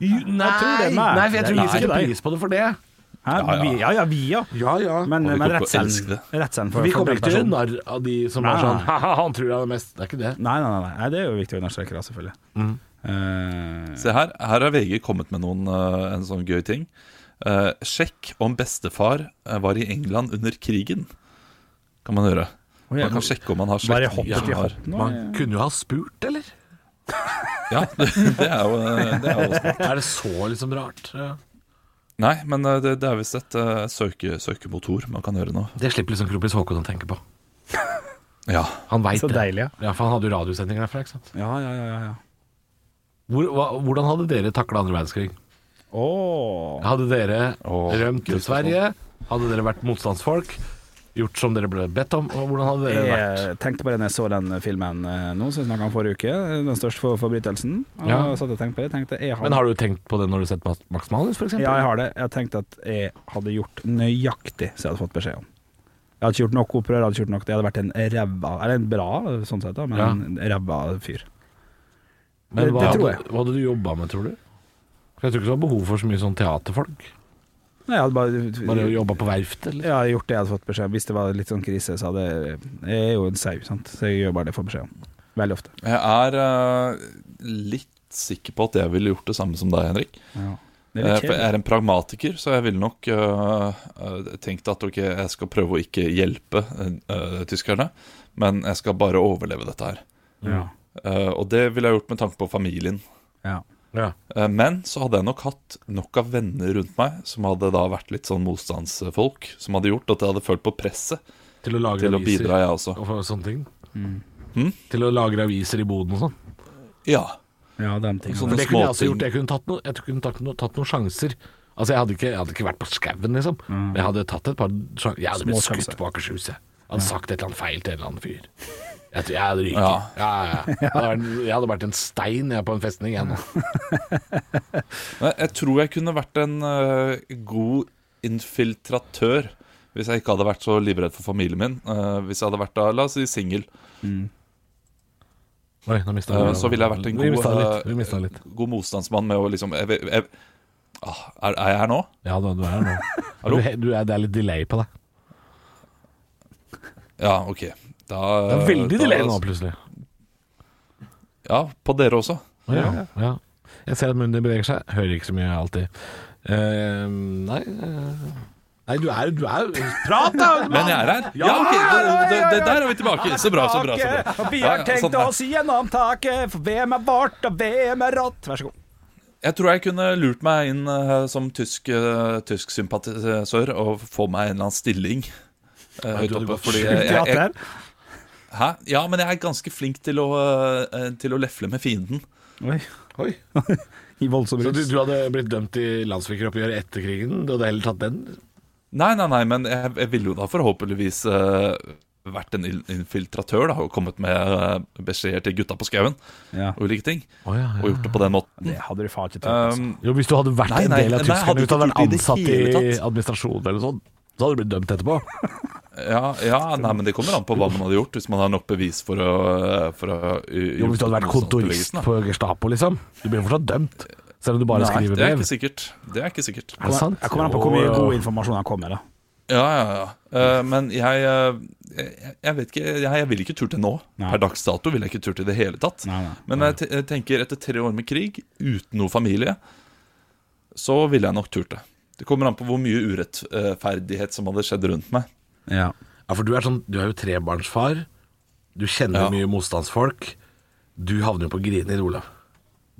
[SPEAKER 1] Jo, Nei,
[SPEAKER 3] tror det, nei.
[SPEAKER 1] nei, for jeg tror vi
[SPEAKER 3] Nei.
[SPEAKER 1] setter pris på det for det.
[SPEAKER 3] Hæ?
[SPEAKER 2] Ja, ja.
[SPEAKER 3] Vi, ja, ja, vi, ja.
[SPEAKER 1] Ja, ja.
[SPEAKER 3] Men,
[SPEAKER 2] Og vi
[SPEAKER 3] men
[SPEAKER 2] kommer til å elske
[SPEAKER 3] redselen
[SPEAKER 2] det.
[SPEAKER 3] redselen for
[SPEAKER 1] Vi
[SPEAKER 3] for
[SPEAKER 1] kommer
[SPEAKER 3] den
[SPEAKER 1] ikke til å gjøre
[SPEAKER 3] personen.
[SPEAKER 1] narr av de som er
[SPEAKER 3] Nei,
[SPEAKER 1] sånn
[SPEAKER 3] nei.
[SPEAKER 1] Ha-ha, han tror jeg er mest. Det er ikke det.
[SPEAKER 3] Nei, nei, nei, nei. nei, det er jo viktig å understreke, da, selvfølgelig.
[SPEAKER 2] Mm.
[SPEAKER 3] Eh,
[SPEAKER 2] Se her, her har VG kommet med noen, eh, en sånn gøy ting. Eh, sjekk om bestefar eh, var i England under krigen, kan man gjøre.
[SPEAKER 3] Oi,
[SPEAKER 2] Man kan sjekke om man har
[SPEAKER 3] bare
[SPEAKER 2] slektninger
[SPEAKER 3] hoppet
[SPEAKER 2] som
[SPEAKER 3] i
[SPEAKER 2] har
[SPEAKER 3] hopp nå.
[SPEAKER 1] Man kunne jo ha spurt, eller?
[SPEAKER 2] Ja, det, det er jo eh, det er jo også.
[SPEAKER 1] Er det så liksom rart? Ja.
[SPEAKER 2] Nei, men eh, det, det er visst et eh, søke, søkemotor man kan gjøre nå.
[SPEAKER 1] Det slipper liksom Kropis Håkon å tenke på.
[SPEAKER 2] Ja.
[SPEAKER 1] Han veit
[SPEAKER 3] Så
[SPEAKER 1] det.
[SPEAKER 3] deilig, ja.
[SPEAKER 1] Ja, for han hadde jo radiosendinger derfra, ikke sant.
[SPEAKER 3] Ja, ja, ja. ja, ja.
[SPEAKER 1] Hvor, hva, hvordan hadde dere takla andre verdenskrig?
[SPEAKER 3] Åh.
[SPEAKER 1] Hadde dere
[SPEAKER 2] Åh,
[SPEAKER 1] rømt til
[SPEAKER 2] Gud,
[SPEAKER 1] Sverige? Hadde dere vært motstandsfolk? Gjort som dere ble bedt om? Og hvordan hadde dere vært?
[SPEAKER 3] Jeg eh, tenkte på det når jeg så den filmen eh, nå, som vi snakka om forrige uke. eh, Den største for- forbrytelsen. Og
[SPEAKER 1] Ja.
[SPEAKER 3] satt og tenkte på det. Tenkte, jeg
[SPEAKER 1] Men har du tenkt på det når du har sett Max- Max Manus, f.eks.?
[SPEAKER 3] Ja, jeg har det. Jeg tenkte at jeg hadde gjort nøyaktig som jeg hadde fått beskjed om. Jeg hadde ikke gjort nok opprør, jeg hadde ikke gjort nok det. Jeg hadde vært en ræva Eller en bra, sånn sett, da, men
[SPEAKER 1] Ja.
[SPEAKER 3] en ræva fyr.
[SPEAKER 1] Men
[SPEAKER 3] det-
[SPEAKER 1] hva,
[SPEAKER 3] det tror
[SPEAKER 1] hadde, hva hadde du jobba med, tror du? For Jeg tror ikke du har behov for så mye sånn teaterfolk.
[SPEAKER 3] Nei, jeg hadde bare,
[SPEAKER 1] Bare jobba på verft,
[SPEAKER 3] Jeg
[SPEAKER 1] eller?
[SPEAKER 3] hadde gjort det jeg hadde fått beskjed om. Hvis det var litt sånn krise, så hadde Jeg er jo en sau, sant, så jeg gjør bare det jeg får beskjed om. Veldig ofte.
[SPEAKER 2] Jeg er eh, litt sikker på at jeg ville gjort det samme som deg, Henrik.
[SPEAKER 3] Ja. Det er litt
[SPEAKER 2] Eh, For jeg
[SPEAKER 3] kjedelig.
[SPEAKER 2] er en pragmatiker, så jeg ville nok øh, øh, tenkt at ok, jeg skal prøve å ikke hjelpe øh, tyskerne, men jeg skal bare overleve dette her.
[SPEAKER 3] Ja.
[SPEAKER 2] Eh, og det ville jeg gjort med tanke på familien.
[SPEAKER 3] Ja.
[SPEAKER 1] Ja.
[SPEAKER 2] Eh, men så hadde jeg nok hatt nok av venner rundt meg som hadde da vært litt sånn motstandsfolk, som hadde gjort at jeg hadde følt på presset
[SPEAKER 1] Til å lage
[SPEAKER 2] til å
[SPEAKER 1] aviser
[SPEAKER 2] bidra, jeg også.
[SPEAKER 1] og for sånne ting?
[SPEAKER 3] Mm.
[SPEAKER 2] Hm?
[SPEAKER 1] Til å lagre aviser i boden og sånn?
[SPEAKER 2] Ja.
[SPEAKER 3] Ja, de tingene.
[SPEAKER 2] Sånn-
[SPEAKER 1] Men det kunne jeg også
[SPEAKER 2] småting.
[SPEAKER 1] gjort. Jeg kunne tatt, noe, jeg kunne tatt, noe, tatt noen sjanser. Altså, jeg hadde ikke, jeg hadde ikke vært på skauen, liksom.
[SPEAKER 2] Mm.
[SPEAKER 1] Men jeg hadde tatt et par sjanser. Jeg hadde blitt
[SPEAKER 3] Små sjanser.
[SPEAKER 1] skutt på Akershus, jeg. Hadde sagt et eller annet feil til en eller annen fyr. Jeg, tror- jeg hadde ryket. Ja.
[SPEAKER 2] Ja.
[SPEAKER 1] Ja, Jeg, hadde vært, jeg hadde vært en stein jeg, på en festning, jeg nå.
[SPEAKER 2] Nei, Jeg tror jeg kunne vært en eh, god infiltratør hvis jeg ikke hadde vært så livredd for familien min. Eh, hvis jeg hadde vært da, la oss si singel,
[SPEAKER 1] Oi, nå mista
[SPEAKER 2] eh, så ville jeg vært en
[SPEAKER 1] Vi mista
[SPEAKER 2] god,
[SPEAKER 1] litt. Vi mistet
[SPEAKER 2] eh,
[SPEAKER 1] litt.
[SPEAKER 2] god motstandsmann med å liksom jeg, jeg, ah, er, er jeg her nå?
[SPEAKER 1] Ja, du, du er her nå.
[SPEAKER 2] Hallo?
[SPEAKER 1] Du, du er, det er litt delay på deg.
[SPEAKER 2] Ja, OK. Da,
[SPEAKER 1] Det er veldig
[SPEAKER 2] da-
[SPEAKER 1] delay nå, plutselig.
[SPEAKER 2] Ja, på dere også.
[SPEAKER 1] Å Ja, ja. Jeg ser at munnen din beveger seg. Hører ikke så mye alltid. Eh, nei eh. Nei, du er du er Prat, da! mann!
[SPEAKER 2] Men jeg er her. Ja, ok, det, det, det, Der er vi tilbake. Så bra, så bra. så bra
[SPEAKER 3] Taket, og Vi
[SPEAKER 2] Ja,
[SPEAKER 3] har
[SPEAKER 2] ja,
[SPEAKER 3] tenkt
[SPEAKER 2] sånn er det.
[SPEAKER 3] oss gjennom taket, for VM er vårt, og VM er rått. Vær så god.
[SPEAKER 2] Jeg tror jeg kunne lurt meg inn eh, som tysk, eh, tysk sympatisør og få meg en eller annen stilling eh, høyt
[SPEAKER 1] hadde
[SPEAKER 2] oppe.
[SPEAKER 1] gått
[SPEAKER 2] Fordi jeg, jeg, jeg,
[SPEAKER 3] Teater.
[SPEAKER 2] hæ? Ja, men jeg er ganske flink til å, eh, til å lefle med fienden.
[SPEAKER 3] Oi.
[SPEAKER 1] Oi.
[SPEAKER 3] I voldsom
[SPEAKER 1] Så du,
[SPEAKER 3] rus.
[SPEAKER 1] du hadde blitt dømt i landsvikeroppgjøret etter krigen? Du hadde heller tatt den?
[SPEAKER 2] Nei, nei, nei, men jeg, jeg ville jo da forhåpentligvis eh, vært en il- infiltratør da, og kommet med eh, beskjeder til gutta på skauen
[SPEAKER 3] Ja.
[SPEAKER 2] og ulike ting.
[SPEAKER 1] Oh, ja,
[SPEAKER 2] Og gjort det på den måten.
[SPEAKER 3] Det
[SPEAKER 1] Mm.
[SPEAKER 3] hadde du faen ikke altså. trodd.
[SPEAKER 2] Um,
[SPEAKER 1] Jo, hvis du hadde vært
[SPEAKER 2] Nei,
[SPEAKER 1] en
[SPEAKER 2] nei,
[SPEAKER 1] del av
[SPEAKER 2] nei, jeg hadde
[SPEAKER 1] tyskerne uten å ha
[SPEAKER 2] ikke
[SPEAKER 1] vært
[SPEAKER 2] gjort det i det
[SPEAKER 1] ansatt i
[SPEAKER 2] hele tatt.
[SPEAKER 1] administrasjon eller sånn, så hadde du blitt dømt etterpå.
[SPEAKER 2] ja, ja, nei, men det kommer an på hva man hadde gjort, hvis man har nok bevis for å, for å
[SPEAKER 1] Jo, hvis du hadde vært kontorist
[SPEAKER 2] motstandsbevegelsen, da.
[SPEAKER 1] på Gestapo, liksom. Du blir fortsatt dømt, selv om du bare
[SPEAKER 3] Nei,
[SPEAKER 1] skriver
[SPEAKER 2] Det er
[SPEAKER 1] brev.
[SPEAKER 2] ikke sikkert. Det er ikke sikkert.
[SPEAKER 1] Er det sant?
[SPEAKER 3] Jeg kommer an på hvor mye
[SPEAKER 1] Jo,
[SPEAKER 3] god
[SPEAKER 1] ja.
[SPEAKER 3] informasjon han kom med, da.
[SPEAKER 2] Ja, ja, ja. Eh, men jeg, eh, jeg, jeg vet ikke Jeg, jeg ville ikke turt det nå.
[SPEAKER 3] Nei.
[SPEAKER 2] Per dags dato ville jeg ikke turt det i det hele tatt.
[SPEAKER 3] Nei, nei.
[SPEAKER 2] Men jeg, te- jeg tenker etter tre år med krig, uten noe familie, så ville jeg nok turt det. Det kommer an på hvor mye urettferdighet som hadde skjedd rundt meg.
[SPEAKER 3] Ja.
[SPEAKER 1] Ja, for du er, sånn, du er jo trebarnsfar. Du kjenner
[SPEAKER 2] Ja.
[SPEAKER 1] mye motstandsfolk. Du havner jo på Grinid, Olav.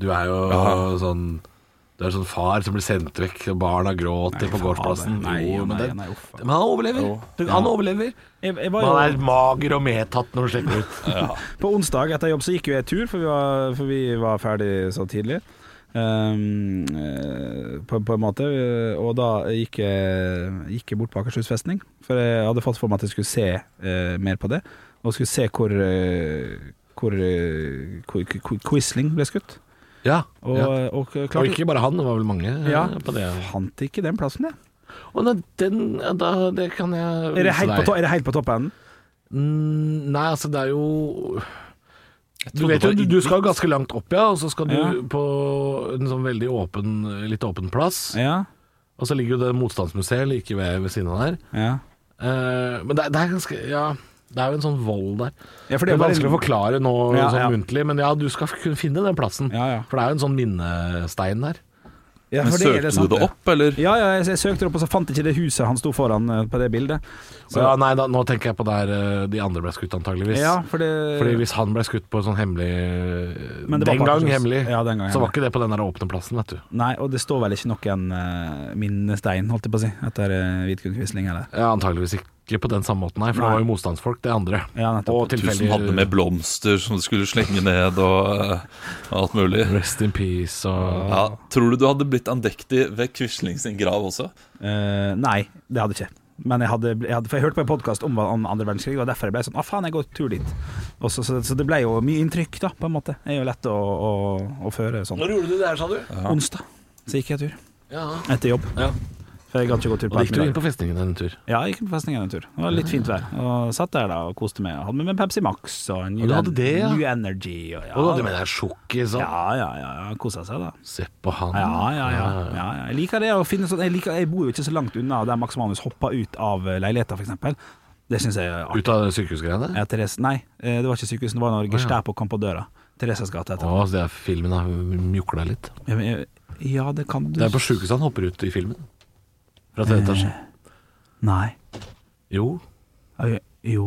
[SPEAKER 1] Du er jo sånn Du er sånn far som blir sendt vekk, og barna gråter på
[SPEAKER 3] faen,
[SPEAKER 1] gårdsplassen.
[SPEAKER 3] nei,
[SPEAKER 1] Jo,
[SPEAKER 3] nei,
[SPEAKER 1] men, det-
[SPEAKER 3] nei, uff.
[SPEAKER 1] men han overlever.
[SPEAKER 2] Jo.
[SPEAKER 1] Du- Han overlever.
[SPEAKER 3] Jeg, jeg
[SPEAKER 1] Men han
[SPEAKER 3] var
[SPEAKER 1] er
[SPEAKER 3] jo,
[SPEAKER 1] mager og medtatt når han slipper ut.
[SPEAKER 3] på onsdag etter jobb så gikk jo jeg tur, for vi var, for vi var ferdig så tidlig. Ehm, eh, på, på en måte. eh, Og da gikk jeg, gikk jeg bort på Akershus festning, for jeg hadde fått for meg at jeg skulle se eh, mer på det. Og skulle se hvor, eh, hvor, eh, hvor, hvor Quisling ble skutt.
[SPEAKER 1] Ja.
[SPEAKER 3] Og,
[SPEAKER 1] ja.
[SPEAKER 3] og klarte
[SPEAKER 1] Og ikke bare han, det var vel mange eh,
[SPEAKER 3] Ja.
[SPEAKER 1] på det.
[SPEAKER 3] Fant ikke den plassen, jeg.
[SPEAKER 1] Å, nei, den ja, da, Det kan jeg
[SPEAKER 3] Er det
[SPEAKER 1] vise
[SPEAKER 3] helt på,
[SPEAKER 1] deg.
[SPEAKER 3] to er det helt på toppen?
[SPEAKER 1] Mm, Nei, altså, det er jo Du
[SPEAKER 2] trodde
[SPEAKER 1] vet jo,
[SPEAKER 2] det var
[SPEAKER 1] du, du
[SPEAKER 2] inni.
[SPEAKER 1] skal ganske langt opp, ja, og så skal du
[SPEAKER 3] Ja.
[SPEAKER 1] på en sånn veldig åpen, litt åpen plass.
[SPEAKER 3] Ja.
[SPEAKER 1] Og så ligger jo det motstandsmuseet like ved, ved siden av der.
[SPEAKER 3] ja.
[SPEAKER 1] Eh, men det, er- det er ganske Ja, det er jo en sånn vold der.
[SPEAKER 3] Ja, for
[SPEAKER 1] det,
[SPEAKER 3] det
[SPEAKER 1] er
[SPEAKER 3] var-
[SPEAKER 1] vanskelig å forklare nå
[SPEAKER 3] Ja,
[SPEAKER 1] sånn
[SPEAKER 3] ja.
[SPEAKER 1] muntlig, men ja, du skal kunne finne den plassen.
[SPEAKER 3] Ja, ja.
[SPEAKER 1] For det er jo en sånn minnestein der.
[SPEAKER 3] Ja,
[SPEAKER 2] Men
[SPEAKER 3] for det er
[SPEAKER 2] søkte
[SPEAKER 3] sant,
[SPEAKER 2] du det opp, eller?
[SPEAKER 3] Ja, ja jeg, jeg søkte det opp, og så fant jeg ikke det huset han sto foran eh, på det bildet.
[SPEAKER 1] Så, ja, nei, da, nå tenker jeg på der eh, de andre ble skutt, antageligvis.
[SPEAKER 3] Ja, for det
[SPEAKER 1] Fordi hvis han ble skutt på en sånn hemmelig
[SPEAKER 3] Men det var
[SPEAKER 1] Den
[SPEAKER 3] på
[SPEAKER 1] gang
[SPEAKER 3] Akershus.
[SPEAKER 1] hemmelig,
[SPEAKER 3] Ja, den gang
[SPEAKER 1] så
[SPEAKER 3] hemmelig.
[SPEAKER 1] var ikke det på den der åpne plassen, vet du.
[SPEAKER 3] Nei, og det står vel ikke noen eh, minnestein, holdt jeg på å si, etter uh, Vidkun Quisling eller
[SPEAKER 1] Ja, antageligvis ikke på den samme måten, nei, for
[SPEAKER 3] Nei.
[SPEAKER 1] det var jo motstandsfolk, det andre.
[SPEAKER 3] Ja, nettopp.
[SPEAKER 1] og
[SPEAKER 2] Tusen
[SPEAKER 1] tilfeldig
[SPEAKER 2] hadde med blomster som du skulle slenge ned, og eh, alt mulig.
[SPEAKER 1] Rest in peace og
[SPEAKER 2] Ja, tror du du hadde blitt andektig ved Quisling sin grav også?
[SPEAKER 3] Eh, nei, det hadde jeg ikke. Men jeg hadde, jeg hadde, for jeg hørte på en podkast om, om andre verdenskrig, og derfor jeg ble sånn Å, faen, jeg går tur dit. Og så, så, så det ble jo mye inntrykk, da, på en måte. Det er jo lett å, å, å føre sånn.
[SPEAKER 1] Når gjorde du det her, sa du?
[SPEAKER 3] Onsdag så gikk jeg tur.
[SPEAKER 1] Ja.
[SPEAKER 3] Etter jobb.
[SPEAKER 1] Ja.
[SPEAKER 3] For jeg gadd ikke gå tur
[SPEAKER 1] Og
[SPEAKER 3] på
[SPEAKER 1] da gikk du inn
[SPEAKER 3] ettermiddagen.
[SPEAKER 1] på festningen en tur.
[SPEAKER 3] Ja, jeg gikk på festningen en tur. Det var litt fint vær. Og satt der da og koste meg. Hadde med meg Pepsi Max og New,
[SPEAKER 1] Og du hadde
[SPEAKER 3] En-
[SPEAKER 1] det, ja.
[SPEAKER 3] New Energy. Og, ja,
[SPEAKER 1] Og da hadde du med deg sjokkis og
[SPEAKER 3] Ja, ja, ja. ja. Kosa seg, da.
[SPEAKER 1] sånn? Se på han.
[SPEAKER 3] Ja, ja, ja. ja, ja. Jeg liker det å finne sånn jeg, liker, jeg bor jo ikke så langt unna der Max Manus hoppa ut av eh, leiligheta, f.eks. Det syns jeg er artig.
[SPEAKER 1] Ut av sykehusgreiene?
[SPEAKER 3] Ja, Therese, nei, eh, det var ikke sykehuset, det var når
[SPEAKER 1] ja.
[SPEAKER 3] Gestapo kom på døra. Thereses gate
[SPEAKER 1] Å,
[SPEAKER 3] heter det.
[SPEAKER 1] så det er filmen har mjukla litt.
[SPEAKER 3] Ja, men, eh, Ja, det kan du
[SPEAKER 1] Det er på sjukehuset han hopper ut i filmen. Fra
[SPEAKER 3] Eh.
[SPEAKER 1] tredje etasje.
[SPEAKER 3] Nei.
[SPEAKER 1] Jo.
[SPEAKER 3] Eh, Jo.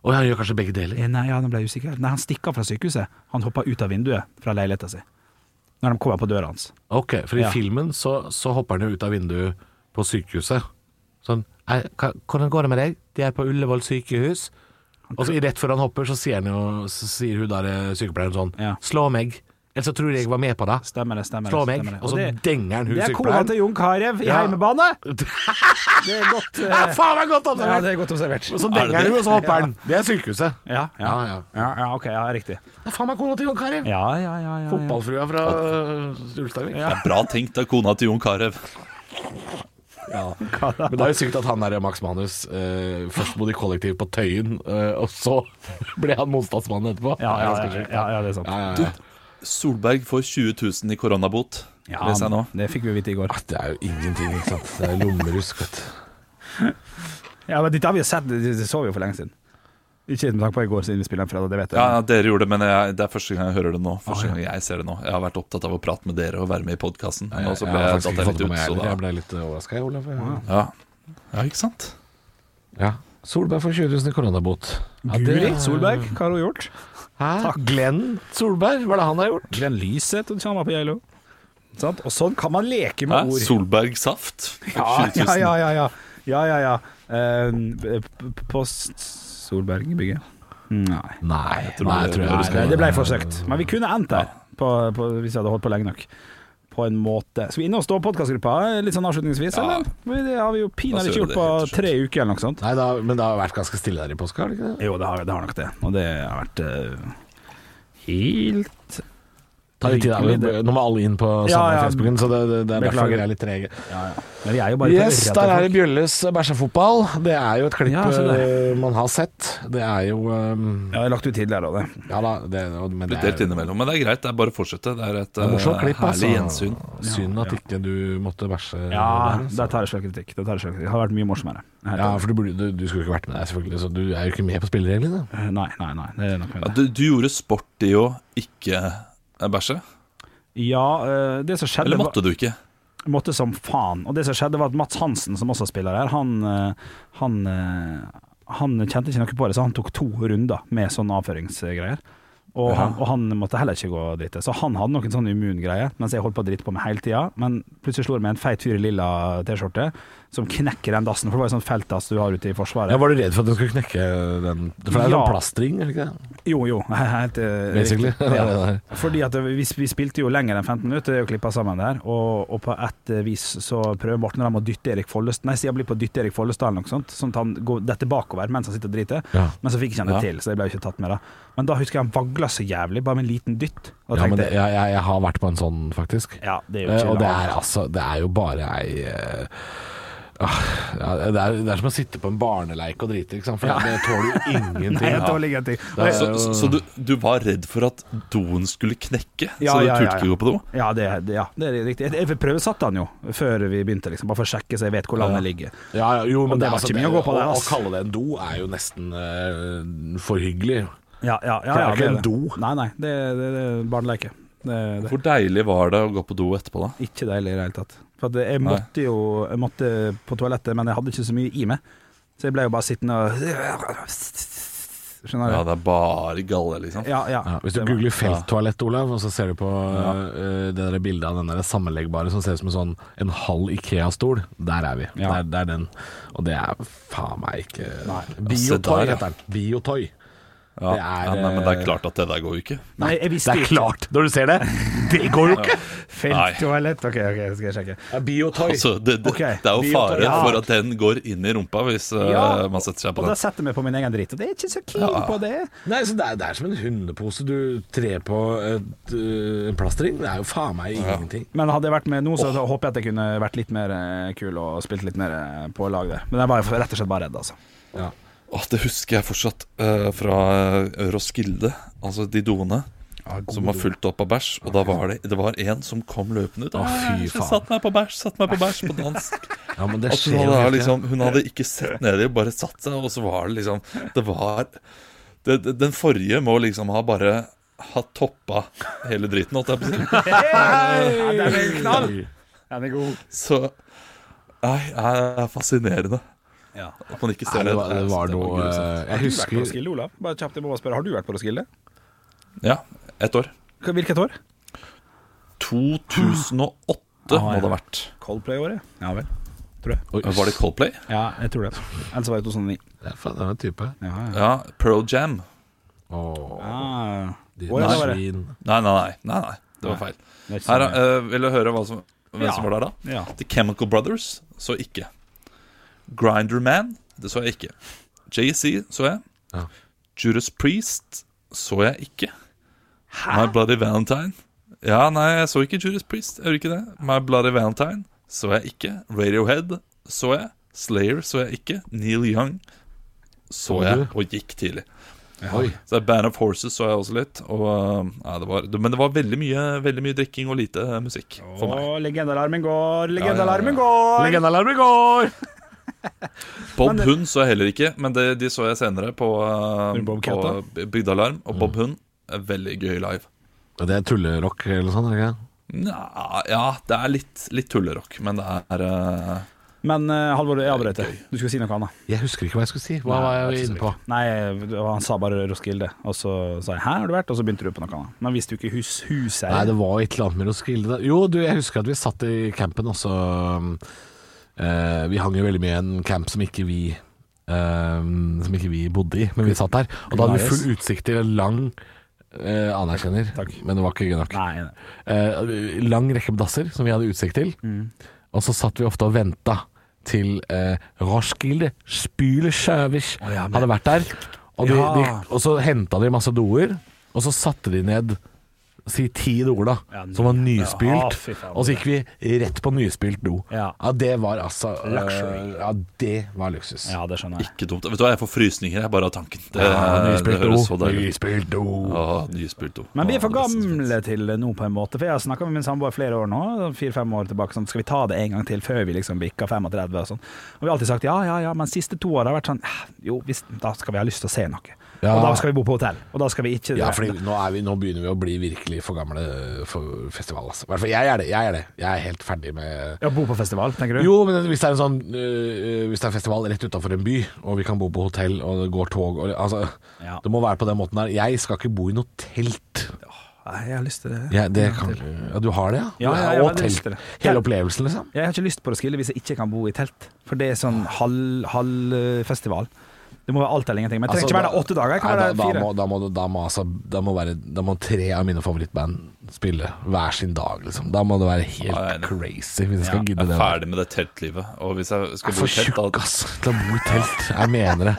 [SPEAKER 1] Å, han gjør kanskje begge deler.
[SPEAKER 3] Eh, Nei, ja, nå ble jeg usikker. Nei, han stikker fra sykehuset. Han hopper ut av vinduet fra leiligheta si. Når de kommer på døra hans.
[SPEAKER 1] Ok, for i
[SPEAKER 3] Ja.
[SPEAKER 1] filmen så, så hopper han jo ut av vinduet på sykehuset. Sånn «Ei, hva- Hvordan går det med deg? De er på Ullevål sykehus. Og så i rett før han hopper, så sier, han jo, så sier hun der eh, sykepleieren sånn
[SPEAKER 3] Ja.
[SPEAKER 1] Slå meg. Ellers så tror jeg jeg var med på det.
[SPEAKER 3] Stemmer det, stemmer det.
[SPEAKER 1] Slår meg,
[SPEAKER 3] stemmer det.
[SPEAKER 1] og så
[SPEAKER 3] det,
[SPEAKER 1] denger han hun
[SPEAKER 3] det er kona til Jon Carew i
[SPEAKER 1] Ja.
[SPEAKER 3] heimebane! Det er godt
[SPEAKER 1] Ja,
[SPEAKER 3] eh,
[SPEAKER 1] faen, det er godt
[SPEAKER 3] Ja,
[SPEAKER 1] observert!
[SPEAKER 3] det er godt observert.
[SPEAKER 1] Og så denger han hun, og så hopper han. Det er sykehuset.
[SPEAKER 3] Ja, ja.
[SPEAKER 1] Ja, ja.
[SPEAKER 3] ja, ja ok, ja, riktig.
[SPEAKER 1] Det er faen meg kona til Jon Carew.
[SPEAKER 3] Ja, ja, ja. ja, ja.
[SPEAKER 1] Fotballfrua fra øh, Ulsteinvik.
[SPEAKER 2] Det er bra tenkt av kona til Jon Carew.
[SPEAKER 1] Men det er jo sykt at han der Max Manus eh, først bodde i kollektiv på Tøyen, eh, og så ble han motstandsmann etterpå.
[SPEAKER 3] Ja, ja,
[SPEAKER 1] det er
[SPEAKER 3] ja,
[SPEAKER 1] ganske sjukt.
[SPEAKER 3] ja, ja, det er sant.
[SPEAKER 1] Ja, ja, ja.
[SPEAKER 2] Solberg får 20 000 i koronabot, leser jeg nå.
[SPEAKER 3] det fikk vi vite i går.
[SPEAKER 1] Ah, Det er jo ingenting, ikke sant. Det er lommerusk, vet du.
[SPEAKER 3] Ja, men Dette har vi jo sett, det, det så vi jo for lenge siden. Ikke med tanke på i går, siden vi spiller en fredag, det vet jeg.
[SPEAKER 2] Ja, ja, dere gjorde det, men jeg, det er første gang jeg hører det nå. Første gang jeg ser det nå Jeg har vært opptatt av å prate med dere og være med i podkasten. Men nå så ble
[SPEAKER 1] har
[SPEAKER 2] jeg
[SPEAKER 1] faktisk
[SPEAKER 2] datt
[SPEAKER 1] ikke
[SPEAKER 2] jeg
[SPEAKER 1] fått
[SPEAKER 2] litt
[SPEAKER 1] det
[SPEAKER 2] ut,
[SPEAKER 1] med meg
[SPEAKER 2] så
[SPEAKER 1] heller.
[SPEAKER 2] da
[SPEAKER 1] Jeg ble litt overraska, Olav.
[SPEAKER 2] ja. ja, ikke sant?
[SPEAKER 1] Ja. Solberg får 20 000 i koronabot. Ja, det-
[SPEAKER 3] Guri Solberg, hva har hun gjort?
[SPEAKER 1] Hæ? Glenn Solberg, hva er det han har gjort?
[SPEAKER 3] Glenn Lyseth og Tjama på Geilo. Sant? Og sånn kan man leke
[SPEAKER 2] Hæ?
[SPEAKER 3] med ord.
[SPEAKER 2] Solberg Saft?
[SPEAKER 3] Ja,
[SPEAKER 2] 20
[SPEAKER 3] ja,
[SPEAKER 2] 000.
[SPEAKER 3] ja. ja, ja. ja, ja, ja. Eh, p- post Solberg-bygget? Nei.
[SPEAKER 1] Nei, jeg
[SPEAKER 2] tror det-
[SPEAKER 1] jeg du
[SPEAKER 2] Nei,
[SPEAKER 3] Nei,
[SPEAKER 1] skal
[SPEAKER 3] det,
[SPEAKER 1] gjøre
[SPEAKER 3] det ble forsøkt. Men vi kunne endt der, på, på, hvis vi hadde holdt på lenge nok. På en måte. Skal vi inne og stå podcastgruppa litt sånn avslutningsvis,
[SPEAKER 2] Ja.
[SPEAKER 3] eller? Men Det har vi jo pinadø
[SPEAKER 2] Da
[SPEAKER 3] ikke
[SPEAKER 2] gjør vi
[SPEAKER 3] gjort
[SPEAKER 2] det,
[SPEAKER 3] på
[SPEAKER 2] helt til slutt.
[SPEAKER 3] tre uker, eller noe sånt.
[SPEAKER 1] Nei, da, men det har vært ganske stille der i påska, har det ikke det?
[SPEAKER 3] Jo, det har, det har nok det. Og det har vært eh, helt
[SPEAKER 1] Tar litt tid, da.
[SPEAKER 3] Hyggelig,
[SPEAKER 1] Nå må alle inn på samme
[SPEAKER 3] Ja, ja.
[SPEAKER 1] Facebooken, så det, det, det er
[SPEAKER 3] Beklager.
[SPEAKER 1] derfor vi er litt trege.
[SPEAKER 3] Men vi er jo bare
[SPEAKER 1] Yes,
[SPEAKER 3] på
[SPEAKER 1] der er
[SPEAKER 3] ørret.
[SPEAKER 1] det Bjølles bæsjefotball. Det er jo et klipp
[SPEAKER 3] Ja, se der.
[SPEAKER 1] eh, man har sett. Det er jo ehm,
[SPEAKER 3] Ja, jeg har lagt ut tidligere òg, det.
[SPEAKER 1] Ja da, det, men det
[SPEAKER 2] Litt
[SPEAKER 1] er,
[SPEAKER 2] delt innimellom, men det er greit. Det er bare å fortsette. Det er et
[SPEAKER 1] det er morsomt
[SPEAKER 2] eh,
[SPEAKER 1] klipp, altså.
[SPEAKER 2] herlig gjensyn.
[SPEAKER 1] Synd at ikke du måtte bæsje.
[SPEAKER 3] Ja,
[SPEAKER 1] der, altså.
[SPEAKER 3] der tar jeg selvkritikk. Det, tar jeg selvkritikk. det har vært mye morsommere. Jeg er helt
[SPEAKER 1] ja, for du, burde- du, du skulle jo ikke vært med deg, selvfølgelig, så du er jo ikke med på spillereglene.
[SPEAKER 3] enig. Eh, Nei, nei, nei. Det er nok med
[SPEAKER 2] Ja,
[SPEAKER 3] det.
[SPEAKER 2] du, du gjorde sport i å ikke eh, bæsje?
[SPEAKER 3] Ja, eh, det som skjedde
[SPEAKER 2] Eller
[SPEAKER 3] var-
[SPEAKER 2] måtte du ikke?
[SPEAKER 3] måtte som faen. Og det som skjedde var at Mats Hansen, som også spiller her, han, eh, han, eh, han kjente ikke noe på det, så han tok to runder med sånne avføringsgreier. Og han, og han måtte heller ikke gå og drite. Så han hadde noen sånne immungreier, mens jeg holdt på å drite på meg hele tida. Men plutselig slo det meg en feit fyr i lilla T-skjorte som knekker den dassen, for det var jo sånn feltdass du har ute i Forsvaret.
[SPEAKER 1] Ja, var du redd for at den skulle knekke den For det er
[SPEAKER 3] Ja.
[SPEAKER 1] sånn plastring, er det ikke det?
[SPEAKER 3] Jo, jo. Helt, eh,
[SPEAKER 1] Basically.
[SPEAKER 3] riktig.
[SPEAKER 1] Ja, det
[SPEAKER 3] Ja.
[SPEAKER 1] der.
[SPEAKER 3] Fordi at vi, vi spilte jo lenger enn 15 minutter og klippa sammen der, og, og på et eh, vis så prøver Morten Ramm å dytte Erik Follestad Nei, sier han blir på å dytte Erik Follestad eller noe sånt, sånn at han går detter bakover mens han sitter og driter.
[SPEAKER 1] Ja.
[SPEAKER 3] Men så fikk ikke han det
[SPEAKER 2] Ja.
[SPEAKER 3] til, så jeg ble jo ikke tatt med det. Men da husker jeg han vagla så jævlig, bare med en liten dytt. Og
[SPEAKER 1] Ja, men
[SPEAKER 3] tenkte,
[SPEAKER 1] det, jeg, jeg, jeg har vært på en sånn, faktisk.
[SPEAKER 3] Ja, det er jo
[SPEAKER 1] Eh,
[SPEAKER 3] ikke
[SPEAKER 1] Og det
[SPEAKER 3] rart.
[SPEAKER 1] er altså Det er jo bare ei eh, ah, ja, det, er, det er som å sitte på en barneleik og drite, ikke sant? for det tåler jo ingenting.
[SPEAKER 3] Nei,
[SPEAKER 1] Ja.
[SPEAKER 3] det var like en ting. Og
[SPEAKER 1] Det er
[SPEAKER 3] jeg-
[SPEAKER 2] Så,
[SPEAKER 1] jo-
[SPEAKER 2] så, så du, du var redd for at doen skulle knekke?
[SPEAKER 3] Ja,
[SPEAKER 2] så du
[SPEAKER 3] ja, ja, ja.
[SPEAKER 2] turte ikke gå på do?
[SPEAKER 3] Ja, det, det- ja, det er riktig. Jeg, jeg prøvesatte han jo før vi begynte, liksom, bare for å sjekke så jeg vet hvor landet ligger.
[SPEAKER 1] Ja, ja, jo, men
[SPEAKER 3] Og det
[SPEAKER 1] er
[SPEAKER 3] var
[SPEAKER 1] altså-
[SPEAKER 3] ikke mye å gå på der,
[SPEAKER 1] å- Å
[SPEAKER 3] ass.
[SPEAKER 1] kalle det en do er jo nesten eh, for hyggelig.
[SPEAKER 3] Ja, ja, ja,
[SPEAKER 1] Det er
[SPEAKER 3] ja,
[SPEAKER 1] ikke en
[SPEAKER 3] det.
[SPEAKER 1] do.
[SPEAKER 3] Nei, nei, det, det, det er barneleike. Det, det.
[SPEAKER 2] Hvor deilig var det å gå på do etterpå, da?
[SPEAKER 3] Ikke deilig i det hele tatt. For at jeg
[SPEAKER 2] Nei.
[SPEAKER 3] måtte jo jeg måtte på toalettet, men jeg hadde ikke så mye i meg. Så jeg ble jo bare sittende og Skjønner
[SPEAKER 2] Ja,
[SPEAKER 3] du?
[SPEAKER 2] det er bare galle, liksom.
[SPEAKER 3] Ja, ja.
[SPEAKER 1] Ja, hvis du
[SPEAKER 3] Det var-
[SPEAKER 1] googler felttoalett, Olav, og så ser du på eh, det der bildet av den der sammenleggbare som ser ut som en sånn en halv Ikea-stol, der er vi. Der,
[SPEAKER 3] Ja.
[SPEAKER 1] det er den. Og det er faen meg ikke
[SPEAKER 3] Nei.
[SPEAKER 2] Se
[SPEAKER 1] Biotoy
[SPEAKER 2] der, ja.
[SPEAKER 1] heter den. Biotoy.
[SPEAKER 2] Ja.
[SPEAKER 1] Det er,
[SPEAKER 2] ja, nei, men det
[SPEAKER 1] eh,
[SPEAKER 2] er klart at det der går jo ikke.
[SPEAKER 3] Nei, jeg visste
[SPEAKER 1] Det er klart, når du ser det. Det går jo ikke!
[SPEAKER 3] Felttoalett. OK, ok, skal jeg sjekke.
[SPEAKER 1] Det er Biotoy.
[SPEAKER 2] Altså, det, det,
[SPEAKER 3] Ok,
[SPEAKER 2] det er
[SPEAKER 1] vi
[SPEAKER 2] jo
[SPEAKER 1] tar-
[SPEAKER 2] fare
[SPEAKER 3] ja.
[SPEAKER 2] for at den går inn i rumpa hvis eh,
[SPEAKER 3] Ja,
[SPEAKER 2] man setter seg på
[SPEAKER 3] Og da
[SPEAKER 2] den.
[SPEAKER 3] setter jeg meg på min egen dritt, og det er ikke så keen på det.
[SPEAKER 1] Nei, så det er, det er som en hundepose du trer på et, øh, en plastring. Det er jo faen meg ingenting.
[SPEAKER 3] Men hadde jeg vært med nå, så da håper jeg at jeg kunne vært litt mer eh, kul og spilt litt mer eh, på lag der. Men jeg var rett og slett bare redd, altså.
[SPEAKER 1] Ja.
[SPEAKER 2] Åh, det husker jeg fortsatt eh, fra eh, Roskilde, altså de doene. Som var fullt opp av bæsj, og da var det Det var en som kom løpende ut.
[SPEAKER 1] Å, fy
[SPEAKER 2] «Æsj, jeg
[SPEAKER 1] faen.
[SPEAKER 2] Satt meg på bæsj, satt meg på bæsj på dansk.
[SPEAKER 1] ja, men det
[SPEAKER 2] At hun
[SPEAKER 1] skjer jo
[SPEAKER 2] hadde,
[SPEAKER 1] hele tiden.
[SPEAKER 2] liksom, hun hadde ikke sett nedi, bare satt seg, og så var det liksom Det var det, det, Den forrige må liksom ha bare ha toppa hele driten, holdt jeg på å si.
[SPEAKER 3] Ja, den er knall! Den er god.
[SPEAKER 2] Så Nei, det er fascinerende.
[SPEAKER 3] Ja.
[SPEAKER 2] At man ikke
[SPEAKER 1] Nei,
[SPEAKER 2] ser
[SPEAKER 1] det
[SPEAKER 2] ned.
[SPEAKER 1] var, det
[SPEAKER 2] Jeg
[SPEAKER 1] var
[SPEAKER 2] synes
[SPEAKER 1] noe eh, Jeg
[SPEAKER 2] grusomt.
[SPEAKER 3] Har du vært på
[SPEAKER 1] husker
[SPEAKER 3] Roskilde, Olav? Bare kjapt, jeg må bare spørre, har du vært på Roskilde?
[SPEAKER 2] Ja, ett år.
[SPEAKER 3] Hva- Hvilket år?
[SPEAKER 2] 2008
[SPEAKER 3] Ah,
[SPEAKER 2] må
[SPEAKER 3] ja.
[SPEAKER 2] det ha vært.
[SPEAKER 3] Coldplay-året? Ja vel.
[SPEAKER 1] Oi,
[SPEAKER 2] Var det Coldplay?
[SPEAKER 3] Ja, jeg tror det. Ellers var det 2009.
[SPEAKER 1] det er faen, det er en type.
[SPEAKER 3] Ja, ja.
[SPEAKER 2] Ja, Pearl Jam.
[SPEAKER 1] Åh,
[SPEAKER 3] Ah.
[SPEAKER 1] ditt
[SPEAKER 3] Å, ja, det var det.
[SPEAKER 1] svin.
[SPEAKER 2] Nei, nei, nei. nei, nei. Det var feil.
[SPEAKER 3] det er ikke så
[SPEAKER 2] Her,
[SPEAKER 3] mye.
[SPEAKER 2] eh, vil du høre hva som, hvem
[SPEAKER 3] Ja.
[SPEAKER 2] som var der, da?
[SPEAKER 3] ja.
[SPEAKER 2] The Chemical Brothers så ikke. Grinder Man, det så jeg ikke. JC så jeg.
[SPEAKER 1] Ja.
[SPEAKER 2] Judas Priest så jeg ikke. My Bloody Valentine. Ja, nei, jeg så ikke Judas Priest. Jeg gjorde ikke det. My Bloody Valentine så jeg ikke. Radiohead så jeg. Slayer så jeg ikke. Neil Young så
[SPEAKER 1] Så
[SPEAKER 2] jeg,
[SPEAKER 1] du?
[SPEAKER 2] og gikk tidlig.
[SPEAKER 1] Oi.
[SPEAKER 2] Så det er Band of Horses så jeg også litt. Og, uh, ja, det var, men det var veldig mye, veldig mye drikking og lite eh, musikk for meg.
[SPEAKER 3] Å, legendealarmen går,
[SPEAKER 2] ja, ja.
[SPEAKER 3] legendealarmen går!
[SPEAKER 1] Legendealarm i går!
[SPEAKER 2] Bob Hund så jeg heller ikke, men det, de så jeg senere på, eh,
[SPEAKER 3] Bob
[SPEAKER 2] på
[SPEAKER 3] Kata?
[SPEAKER 2] Bygdealarm. Og
[SPEAKER 1] Mm.
[SPEAKER 2] Bob Hund er veldig gøy live.
[SPEAKER 1] Det er tullerock eller sånn, ikke
[SPEAKER 2] Nja, ja, det er litt, litt tullerock, men det er eh,
[SPEAKER 3] Men eh, Halvor, jeg avbrøter. Du skulle si noe annet.
[SPEAKER 1] Jeg husker ikke hva jeg skulle si. Hva var jeg inne på?
[SPEAKER 3] Nei, det var- han sa bare Roskilde, og så sa jeg 'hæ, har du vært?' Og så begynte du på noe annet. Men hvis du ikke hus, huset
[SPEAKER 1] Nei, det var et eller annet med Roskilde. da. Jo, du, jeg husker at vi satt i campen også. um, eh, vi hang jo veldig mye i en camp som ikke vi um, Som ikke vi bodde i, men vi satt der. Og da hadde vi full utsikt til en lang eh, anerkjenner,
[SPEAKER 3] Takk.
[SPEAKER 1] men det var ikke gøy nok.
[SPEAKER 3] Nei, nei.
[SPEAKER 1] Eh, lang rekke med dasser som vi hadde utsikt til.
[SPEAKER 3] Mm.
[SPEAKER 1] Og så satt vi ofte og venta til eh, Roskilde Spylesjøvis hadde vært der. Og, de,
[SPEAKER 3] Ja.
[SPEAKER 1] de, og så henta de masse doer, og så satte de ned si ti doer, da,
[SPEAKER 3] Ja, ny-
[SPEAKER 1] som var
[SPEAKER 3] Ja,
[SPEAKER 1] nyspylt.
[SPEAKER 3] fy faen.
[SPEAKER 1] og så gikk vi rett på nyspylt do.
[SPEAKER 3] Ja.
[SPEAKER 1] det var altså eh,
[SPEAKER 3] Luxury.
[SPEAKER 1] Ja, det var luksus.
[SPEAKER 3] Ja, det skjønner jeg.
[SPEAKER 2] ikke dumt. Vet du hva, jeg får frysninger jeg bare av tanken. Det,
[SPEAKER 1] Ja,
[SPEAKER 2] Eh, det
[SPEAKER 1] nyspylt
[SPEAKER 2] høres så
[SPEAKER 1] do.
[SPEAKER 2] deilig ut.
[SPEAKER 1] Nyspylt do.
[SPEAKER 2] Ja, nyspilt do.
[SPEAKER 3] Men vi er for
[SPEAKER 2] Ja, det beste som finnes.
[SPEAKER 3] gamle til det nå, på en måte. For jeg har snakka med min samboer flere år nå, fire-fem år tilbake, sånn skal vi ta det en gang til før vi liksom bikker 35 og sånn. Og vi har alltid sagt ja, ja, ja, men siste to år har vært sånn eh, Jo, hvis, da skal vi ha lyst til å se noe.
[SPEAKER 1] Ja.
[SPEAKER 3] Og da skal vi bo på hotell. Og da skal vi ikke
[SPEAKER 1] Ja, fordi nå, er vi, nå begynner vi å bli virkelig for gamle eh, for festival. Altså. I hvert fall jeg er det. Jeg er det. Jeg er helt ferdig med
[SPEAKER 3] Ja, bo på festival, tenker du?
[SPEAKER 1] Jo, men hvis det er en sånn øh, Hvis det er festival rett utafor en by, og vi kan bo på hotell, og det går tog og, altså,
[SPEAKER 3] Ja.
[SPEAKER 1] Det må være på den måten der. Jeg skal ikke bo i noe telt.
[SPEAKER 3] Nei, jeg har lyst til det.
[SPEAKER 1] Jeg, det kan, ja, du har det, ja?
[SPEAKER 3] Ja, ja, ja,
[SPEAKER 1] og
[SPEAKER 3] men det
[SPEAKER 1] telt.
[SPEAKER 3] visste det.
[SPEAKER 1] Hele opplevelsen, liksom.
[SPEAKER 3] Jeg har ikke lyst på Roskilde hvis jeg ikke kan bo i telt. For det er sånn halv, halv eh, festival. Det må være alt eller ingenting. Men
[SPEAKER 1] Altså,
[SPEAKER 3] jeg trenger ikke være
[SPEAKER 1] da-
[SPEAKER 3] der åtte dager. Jeg kan
[SPEAKER 1] Nei, da,
[SPEAKER 3] være der
[SPEAKER 1] da, må,
[SPEAKER 3] fire.
[SPEAKER 1] da, må, da, må, altså, da, må være, da må tre av mine favorittband spille hver sin dag, liksom. Da må det være helt
[SPEAKER 2] Nei, det-
[SPEAKER 1] crazy hvis jeg skal
[SPEAKER 2] Jeg
[SPEAKER 1] gidde
[SPEAKER 2] er
[SPEAKER 1] det.
[SPEAKER 2] ferdig med det teltlivet. Og hvis jeg
[SPEAKER 1] Jeg
[SPEAKER 2] skal
[SPEAKER 1] er
[SPEAKER 2] bo
[SPEAKER 1] for
[SPEAKER 2] i telt,
[SPEAKER 1] tjukk,
[SPEAKER 2] da
[SPEAKER 1] ass, til å bo i telt. Jeg mener det.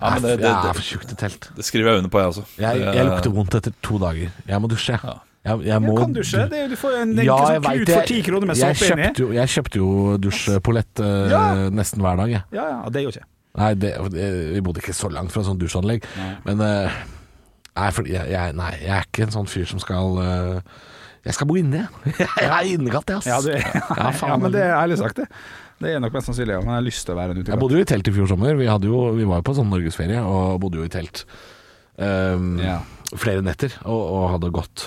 [SPEAKER 2] Ja, men det- det-
[SPEAKER 1] jeg
[SPEAKER 2] det-
[SPEAKER 1] er for tjukk til telt.
[SPEAKER 2] Det skriver jeg under på, jeg også. Eh,
[SPEAKER 1] Jeg,
[SPEAKER 2] Det-
[SPEAKER 1] jeg lukter vondt etter to dager. Jeg må dusje.
[SPEAKER 2] Ja.
[SPEAKER 1] Jeg, jeg må
[SPEAKER 3] Ja, kan du ikke? Det er, jo- du får en, en
[SPEAKER 1] Ja,
[SPEAKER 3] sånn
[SPEAKER 1] jeg vet
[SPEAKER 3] klut
[SPEAKER 1] det.
[SPEAKER 3] for ti kroner med
[SPEAKER 1] Jeg
[SPEAKER 3] såpe inni.
[SPEAKER 1] kjøpte jo, jeg kjøpte jo dusjpolett eh,
[SPEAKER 3] Ja.
[SPEAKER 1] nesten hver dag, jeg.
[SPEAKER 3] Ja, ja, det er jo ikke
[SPEAKER 1] Nei, det, det- vi bodde ikke så langt fra sånn dusjanlegg, men eh, nei, fordi jeg, jeg, nei, jeg er ikke en sånn fyr som skal eh, Jeg skal bo inne, jeg. Jeg er innekatt, jeg, ass.
[SPEAKER 3] ja, du,
[SPEAKER 1] Ja, faen.
[SPEAKER 3] ja, men det er ærlig sagt, det. Det er nok mest sannsynlig. ja. Men jeg har lyst til å være en
[SPEAKER 1] Jeg
[SPEAKER 3] utekamp.
[SPEAKER 1] bodde jo i telt i fjor sommer. Vi, hadde jo, vi var jo på sånn norgesferie og bodde jo i telt um,
[SPEAKER 3] Ja.
[SPEAKER 1] flere netter. Og, og hadde gått,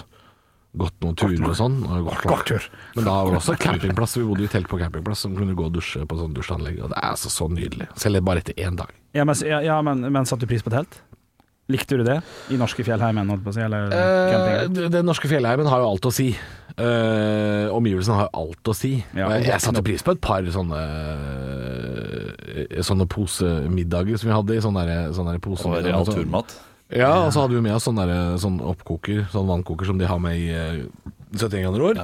[SPEAKER 1] gått noen turer og sånn. Og gått,
[SPEAKER 3] Gått tur.
[SPEAKER 1] Men da var det også campingplass. Vi bodde jo i telt på campingplass som kunne gå og dusje på sånn dusjanlegg. Og det er altså så nydelig. Selv bare etter én dag.
[SPEAKER 3] Ja, men, ja, ja men, men satte du pris på telt? Likte du det? I norske fjellheimen, holdt på å si? Eller
[SPEAKER 1] Eh,
[SPEAKER 3] camping?
[SPEAKER 1] d- den norske fjellheimen har jo alt å si. Eh, omgivelsene har jo alt å si. Eh,
[SPEAKER 3] Ja, og
[SPEAKER 1] jeg
[SPEAKER 3] våkne
[SPEAKER 1] satte
[SPEAKER 3] opp.
[SPEAKER 1] pris på et par sånne eh, Sånne posemiddager som vi hadde i sånne, der- sånne der
[SPEAKER 2] Og
[SPEAKER 1] posemiddager.
[SPEAKER 2] real
[SPEAKER 1] sånn-
[SPEAKER 2] turmat.
[SPEAKER 1] Ja, og så hadde vi med oss sånn, derre- sånn oppkoker, sånn vannkoker som de har med i eh, 71 grader år.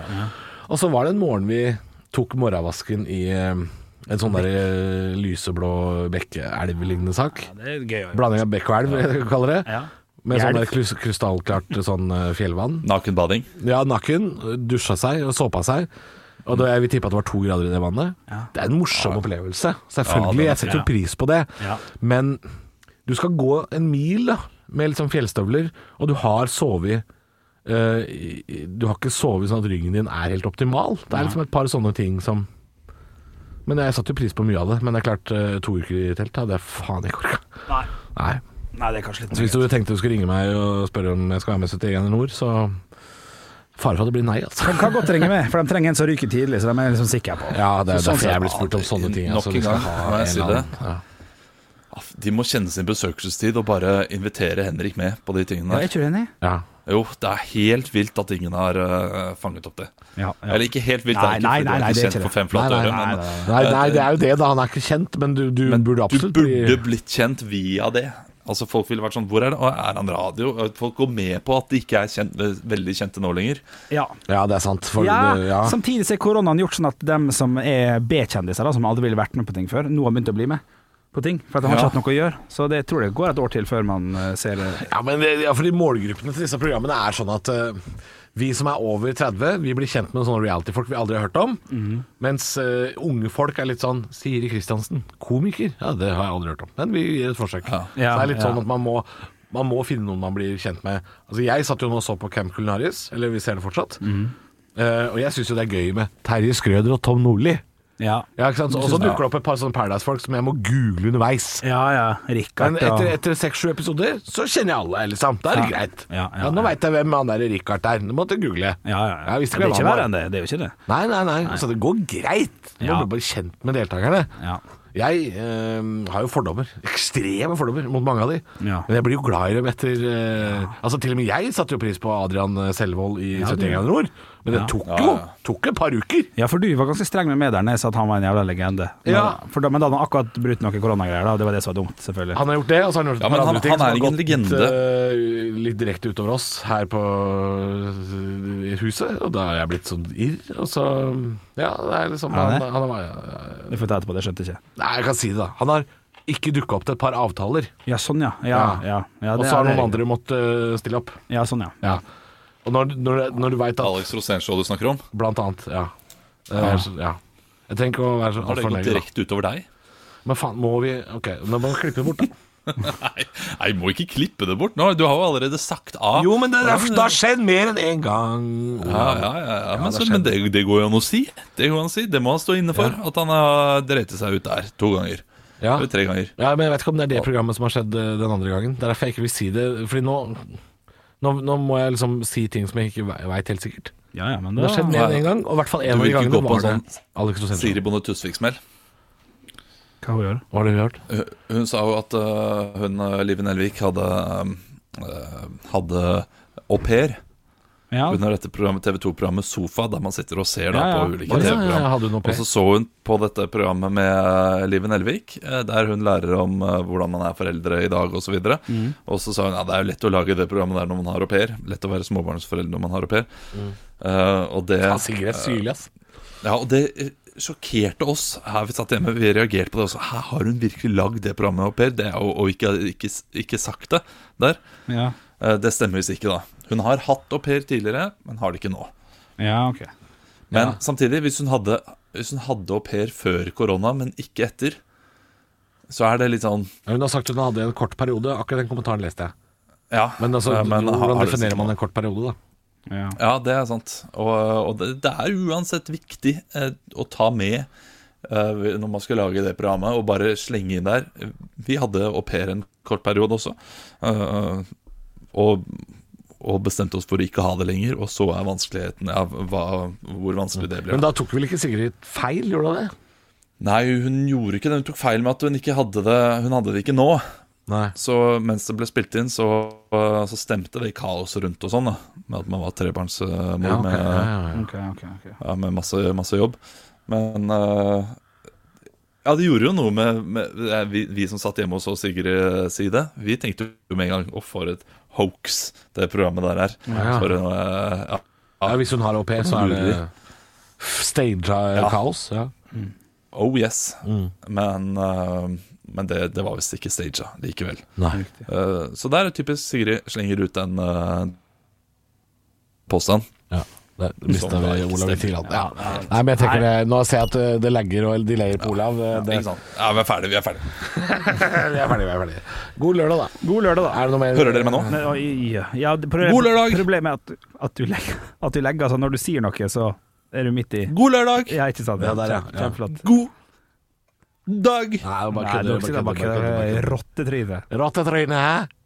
[SPEAKER 1] Og så var det en morgen vi tok morgenvasken i eh, en sånn der eh, lyseblå bekkeelv-lignende sak.
[SPEAKER 3] Ja, det er gøy å gjøre.
[SPEAKER 1] Blanding av bekk og elv, jeg kaller det.
[SPEAKER 3] Ja.
[SPEAKER 1] Med sånn
[SPEAKER 3] Elv.
[SPEAKER 1] der klus- krystallklart sånn eh, fjellvann.
[SPEAKER 2] Nakenbading.
[SPEAKER 1] Ja, naken, dusja seg og såpa seg. Og da jeg vil tippe at det var to grader i det vannet. Det er en morsom opplevelse. Selvfølgelig.
[SPEAKER 2] Ja, det er-
[SPEAKER 1] jeg setter jo pris på det.
[SPEAKER 3] Ja.
[SPEAKER 1] Men du skal gå en mil da, med litt sånn fjellstøvler, og du har sovet eh, i- i- Du har ikke sovet sånn at ryggen din er helt optimal. Det er liksom et par sånne ting som Men jeg satte jo pris på mye av det. Men det er klart, eh, to uker i telt hadde jeg faen ikke orka.
[SPEAKER 3] Nei.
[SPEAKER 1] Nei.
[SPEAKER 3] Nei, det er kanskje litt
[SPEAKER 1] Så hvis du tenkte du skulle ringe meg og spørre om jeg skal være med 71 Nord, så Fare for at det blir nei, altså.
[SPEAKER 3] De kan godt ringe med, for de trenger en som ryker tidlig, så de er liksom sikre på.
[SPEAKER 1] Ja, det er
[SPEAKER 3] Så sånn
[SPEAKER 1] derfor jeg
[SPEAKER 3] sett-
[SPEAKER 1] blir spurt om sånne ting.
[SPEAKER 2] Nok
[SPEAKER 1] Altså,
[SPEAKER 2] en
[SPEAKER 1] vi skal
[SPEAKER 2] gang,
[SPEAKER 1] ha
[SPEAKER 2] må jeg
[SPEAKER 1] en
[SPEAKER 2] si
[SPEAKER 1] eller
[SPEAKER 2] det.
[SPEAKER 1] annen- ja.
[SPEAKER 2] Aff, De må kjenne sin besøkelsestid og bare invitere Henrik med på de tingene.
[SPEAKER 3] Ja,
[SPEAKER 2] der.
[SPEAKER 3] er ikke du enig?
[SPEAKER 1] Ja.
[SPEAKER 2] Jo, det er helt vilt at ingen har eh, fanget opp det.
[SPEAKER 3] Ja, ja.
[SPEAKER 2] Eller ikke helt vilt,
[SPEAKER 3] Nei,
[SPEAKER 2] det er ikke,
[SPEAKER 3] nei,
[SPEAKER 2] fordi
[SPEAKER 3] nei,
[SPEAKER 2] han
[SPEAKER 3] nei, det er
[SPEAKER 2] er
[SPEAKER 3] ikke
[SPEAKER 2] kjent
[SPEAKER 3] det.
[SPEAKER 2] for fem flate
[SPEAKER 1] Nei,
[SPEAKER 2] øre,
[SPEAKER 1] nei,
[SPEAKER 2] men,
[SPEAKER 1] Nei, nei, det er jo det, da. Han er ikke kjent, men du, du
[SPEAKER 2] men
[SPEAKER 1] burde
[SPEAKER 2] du
[SPEAKER 1] absolutt
[SPEAKER 2] burde
[SPEAKER 1] bli
[SPEAKER 2] blitt kjent via det. Altså Folk ville vært sånn Hvor er det? Å, er han radio? Og Folk går med på at de ikke er kjent, eh, veldig kjente nå lenger.
[SPEAKER 3] Ja.
[SPEAKER 1] Ja, det er sant. For,
[SPEAKER 3] ja,
[SPEAKER 1] ja.
[SPEAKER 3] Samtidig så er koronaen gjort sånn at dem som er B-kjendiser, da, som aldri ville vært med på ting før, nå har begynt å bli med på ting. For at de har
[SPEAKER 2] Ja.
[SPEAKER 3] ikke hatt noe å gjøre. Så det tror jeg går et år til før man eh, ser det.
[SPEAKER 1] Ja, men det, ja, fordi målgruppene til disse programmene er sånn at eh, vi som er over 30, vi blir kjent med sånne reality-folk vi aldri har hørt om. Mens eh, unge folk er litt sånn Siri Kristiansen, komiker? Ja, det har jeg aldri hørt om. Men vi gir et forsøk.
[SPEAKER 2] Ja.
[SPEAKER 1] Så det er litt
[SPEAKER 3] Ja,
[SPEAKER 1] sånn
[SPEAKER 3] ja.
[SPEAKER 1] at man må, man må finne noen man blir kjent med. Altså, jeg satt jo nå og så på Camp Culinaris, eller vi ser det fortsatt. Eh, og jeg syns jo det er gøy med Terje Skrøder og Tom Nordli.
[SPEAKER 3] Ja,
[SPEAKER 1] Ja, ikke sant? Så- Og så dukker det opp et par sånne Paradise-folk som jeg må google underveis.
[SPEAKER 3] ja. ja.
[SPEAKER 1] Men
[SPEAKER 3] Rikard
[SPEAKER 1] etter,
[SPEAKER 3] og
[SPEAKER 1] etter seks-sju episoder så kjenner jeg alle, liksom. Da er det
[SPEAKER 3] Ja.
[SPEAKER 1] greit.
[SPEAKER 3] Ja, ja,
[SPEAKER 1] nå
[SPEAKER 3] ja.
[SPEAKER 1] veit jeg hvem han der Richard er. Nå måtte jeg google.
[SPEAKER 3] ja, ja, ja.
[SPEAKER 1] Jeg visste
[SPEAKER 3] Det er
[SPEAKER 1] hvem han
[SPEAKER 3] ikke
[SPEAKER 1] var.
[SPEAKER 3] verre enn det. Det er jo ikke det.
[SPEAKER 1] Nei, nei, nei. Så det går greit. Nå
[SPEAKER 3] Ja.
[SPEAKER 1] blir du bare kjent med deltakerne.
[SPEAKER 3] Ja.
[SPEAKER 1] Jeg eh, har jo fordommer. Ekstreme fordommer mot mange av de.
[SPEAKER 3] Ja.
[SPEAKER 1] Men jeg blir jo glad i dem etter eh, Altså Til og med jeg satte jo pris på Adrian Selvold i 71 grader nord. Men det tok jo
[SPEAKER 2] Ja, ja.
[SPEAKER 1] tok et par uker.
[SPEAKER 3] Ja, for du var ganske streng med mederne, så at han var en jævla legende. Men-
[SPEAKER 1] Ja.
[SPEAKER 3] For da, men da hadde han akkurat brutt noen koronagreier, da. og Det var det som var dumt, selvfølgelig.
[SPEAKER 1] Han har gjort det, og så har han gjort
[SPEAKER 2] Ja,
[SPEAKER 1] et par
[SPEAKER 2] men han-
[SPEAKER 1] andre ting
[SPEAKER 2] han
[SPEAKER 1] som
[SPEAKER 2] er
[SPEAKER 1] har
[SPEAKER 2] ingen
[SPEAKER 1] gått, eh, litt direkte utover oss her på eh, huset, og da har jeg blitt sånn irr. Og så Ja, det er liksom
[SPEAKER 3] Er
[SPEAKER 1] han,
[SPEAKER 3] det?
[SPEAKER 1] han, har-
[SPEAKER 3] Det får jeg ta etterpå, det skjønte jeg ikke.
[SPEAKER 1] Nei, jeg kan si det, da. Han har ikke dukka opp til et par avtaler,
[SPEAKER 3] Ja, sånn ja. Ja,
[SPEAKER 1] Ja.
[SPEAKER 3] ja. ja
[SPEAKER 1] og
[SPEAKER 3] det
[SPEAKER 1] så har
[SPEAKER 3] er
[SPEAKER 1] noen
[SPEAKER 3] det.
[SPEAKER 1] andre måttet eh, stille opp.
[SPEAKER 3] Ja, sånn ja.
[SPEAKER 1] Ja. Og når, når, når du veit at
[SPEAKER 2] Alex Rosénshow du snakker om,
[SPEAKER 1] Blant annet, ja. Det er så- ja. Jeg trenger ikke å være så
[SPEAKER 2] har det
[SPEAKER 1] altfor
[SPEAKER 2] gått
[SPEAKER 1] nøye. da.
[SPEAKER 2] direkte utover deg?
[SPEAKER 1] Men faen, må vi Ok, nå må vi klippe det bort, da.
[SPEAKER 2] Nei, nei, må ikke klippe det bort nå. Du har jo allerede sagt A.
[SPEAKER 1] Jo, men det, det har skjedd mer enn én gang.
[SPEAKER 2] Ja, ja, ja, ja. Men,
[SPEAKER 1] det
[SPEAKER 2] så,
[SPEAKER 1] skjedde.
[SPEAKER 2] men det, det går jo an å si. Det går an å si, det må han stå inne for. At han har dreit seg ut der to ganger.
[SPEAKER 1] Ja.
[SPEAKER 2] Eller tre ganger.
[SPEAKER 1] Ja, men Jeg vet ikke om det er det programmet som har skjedd eh, den andre gangen. Det er derfor jeg ikke vil si det. Fordi nå Nå, nå må jeg liksom si ting som jeg ikke veit helt sikkert.
[SPEAKER 3] Ja, ja, men
[SPEAKER 1] Det
[SPEAKER 3] da
[SPEAKER 1] har skjedd mer enn én gang, og i hvert fall en av de
[SPEAKER 2] Du vil ikke
[SPEAKER 1] gangene
[SPEAKER 2] gå på
[SPEAKER 1] var det
[SPEAKER 2] en sånn
[SPEAKER 1] Alex Rosenthal.
[SPEAKER 2] Siri Bonde Tusvik-smell.
[SPEAKER 3] Hva hun gjør?
[SPEAKER 1] Hva har du hørt?
[SPEAKER 2] Hun- Hun sa jo at øh, hun, øh, Live Nelvik, hadde, øh, hadde au pair
[SPEAKER 3] Ja.
[SPEAKER 2] under dette programmet, TV2-programmet Sofa, der man sitter og ser da,
[SPEAKER 3] Ja, ja.
[SPEAKER 2] på ulike
[SPEAKER 1] Ja, ja,
[SPEAKER 2] TV-program.
[SPEAKER 1] ja, hadde hun au pair.
[SPEAKER 2] og så så hun på dette programmet med øh, Live Nelvik, eh, der hun lærer om eh, hvordan man er foreldre i dag osv. videre Og så sa hun ja, det er jo lett å lage det programmet der når man har au pair. Lett å være småbarnsforeldre når man har au pair. Eh, og det
[SPEAKER 1] Ja, Sigrid er syrlig, ass.
[SPEAKER 2] ja, og det eh, sjokkerte oss her vi satt hjemme. Vi reagerte på det også. Her har hun virkelig lagd det programmet, au pair, det er jo- og ikke, ikke, ikke sagt det der.
[SPEAKER 3] ja.
[SPEAKER 2] Eh, Det stemmer visst ikke, da. Hun har hatt au pair tidligere, men har det ikke nå.
[SPEAKER 3] Ja, ok.
[SPEAKER 2] Men samtidig, hvis hun hadde, hvis hun hadde au pair før korona, men ikke etter, så er det litt sånn
[SPEAKER 1] Ja, Hun har sagt hun hadde en kort periode. Akkurat den kommentaren leste jeg.
[SPEAKER 2] Ja,
[SPEAKER 1] Men altså,
[SPEAKER 2] eh, men har-
[SPEAKER 1] hvordan
[SPEAKER 2] har det-
[SPEAKER 1] definerer man en kort periode, da?
[SPEAKER 3] Ja.
[SPEAKER 2] Ja, det er sant. Og, og det, det er uansett viktig eh, å ta med eh, når man skal lage det programmet, og bare slenge inn der. Vi hadde au pair en kort periode også, eh, og, og bestemte oss for å ikke ha det lenger. Og så er vanskeligheten ja, hva, hvor vanskelig det
[SPEAKER 1] Men
[SPEAKER 2] ble.
[SPEAKER 1] da tok vel ikke Sigrid feil, gjorde hun det?
[SPEAKER 2] Nei, hun gjorde ikke det. Hun tok feil med at hun ikke hadde det, hun hadde det ikke nå.
[SPEAKER 1] Nei.
[SPEAKER 2] Så mens det ble spilt inn, så, eh, så stemte det kaoset rundt og sånn, da. Med at man var trebarnsmor
[SPEAKER 1] Ja, ok.
[SPEAKER 2] med
[SPEAKER 1] ja, ja, ja.
[SPEAKER 3] Ok, ok, ok.
[SPEAKER 2] ja, med masse, masse jobb. Men eh, Ja, det gjorde jo noe med, med eh, vi, vi som satt hjemme og så Sigrid si det. Vi tenkte jo med en gang Å, for et hoax det programmet der er.
[SPEAKER 1] Ja.
[SPEAKER 2] For, eh, ja.
[SPEAKER 1] Ja, hvis hun har au pair, så er det
[SPEAKER 2] Lurer.
[SPEAKER 1] staged eh,
[SPEAKER 2] Ja.
[SPEAKER 1] kaos. Ja.
[SPEAKER 2] Oh yes.
[SPEAKER 1] Mm.
[SPEAKER 2] Men, eh, men det, det var visst ikke staged likevel.
[SPEAKER 1] Nei.
[SPEAKER 2] Eh, så der er typisk Sigrid slenger ut en eh, påstand.
[SPEAKER 1] Ja. Der mista
[SPEAKER 2] Sånn, da,
[SPEAKER 1] vi
[SPEAKER 2] ikke
[SPEAKER 1] Olav litt
[SPEAKER 2] stemmer.
[SPEAKER 1] tidligere. Ja. Nei, men jeg tenker det, Nå ser jeg at eh, det lagger og delayer på Olav. eh, Det,
[SPEAKER 2] Ikke sant? Ja, vi er ferdige, vi er ferdige.
[SPEAKER 1] vi er ferdig, vi er ferdig. God lørdag, da.
[SPEAKER 3] God lørdag, da.
[SPEAKER 1] Er det noe mer?
[SPEAKER 2] Hører dere meg nå?
[SPEAKER 3] Men, oi, ja. Ja, det- problem-
[SPEAKER 2] God lørdag!
[SPEAKER 3] Problemet er at, at du legger, at du legger altså, Når du sier noe, så er du midt i
[SPEAKER 2] God lørdag!
[SPEAKER 3] Ja, ikke sant?
[SPEAKER 1] Ja, der, ja. Ja.
[SPEAKER 3] Kjempeflott.
[SPEAKER 2] God
[SPEAKER 1] Nei,
[SPEAKER 2] dag!
[SPEAKER 1] det er
[SPEAKER 3] Nei,
[SPEAKER 1] bare
[SPEAKER 3] du
[SPEAKER 1] kødder.
[SPEAKER 3] må ikke si det
[SPEAKER 1] bare
[SPEAKER 3] bak
[SPEAKER 1] kødder, bare kødder.
[SPEAKER 3] Rottetryne.
[SPEAKER 1] Rottetryne, hæ?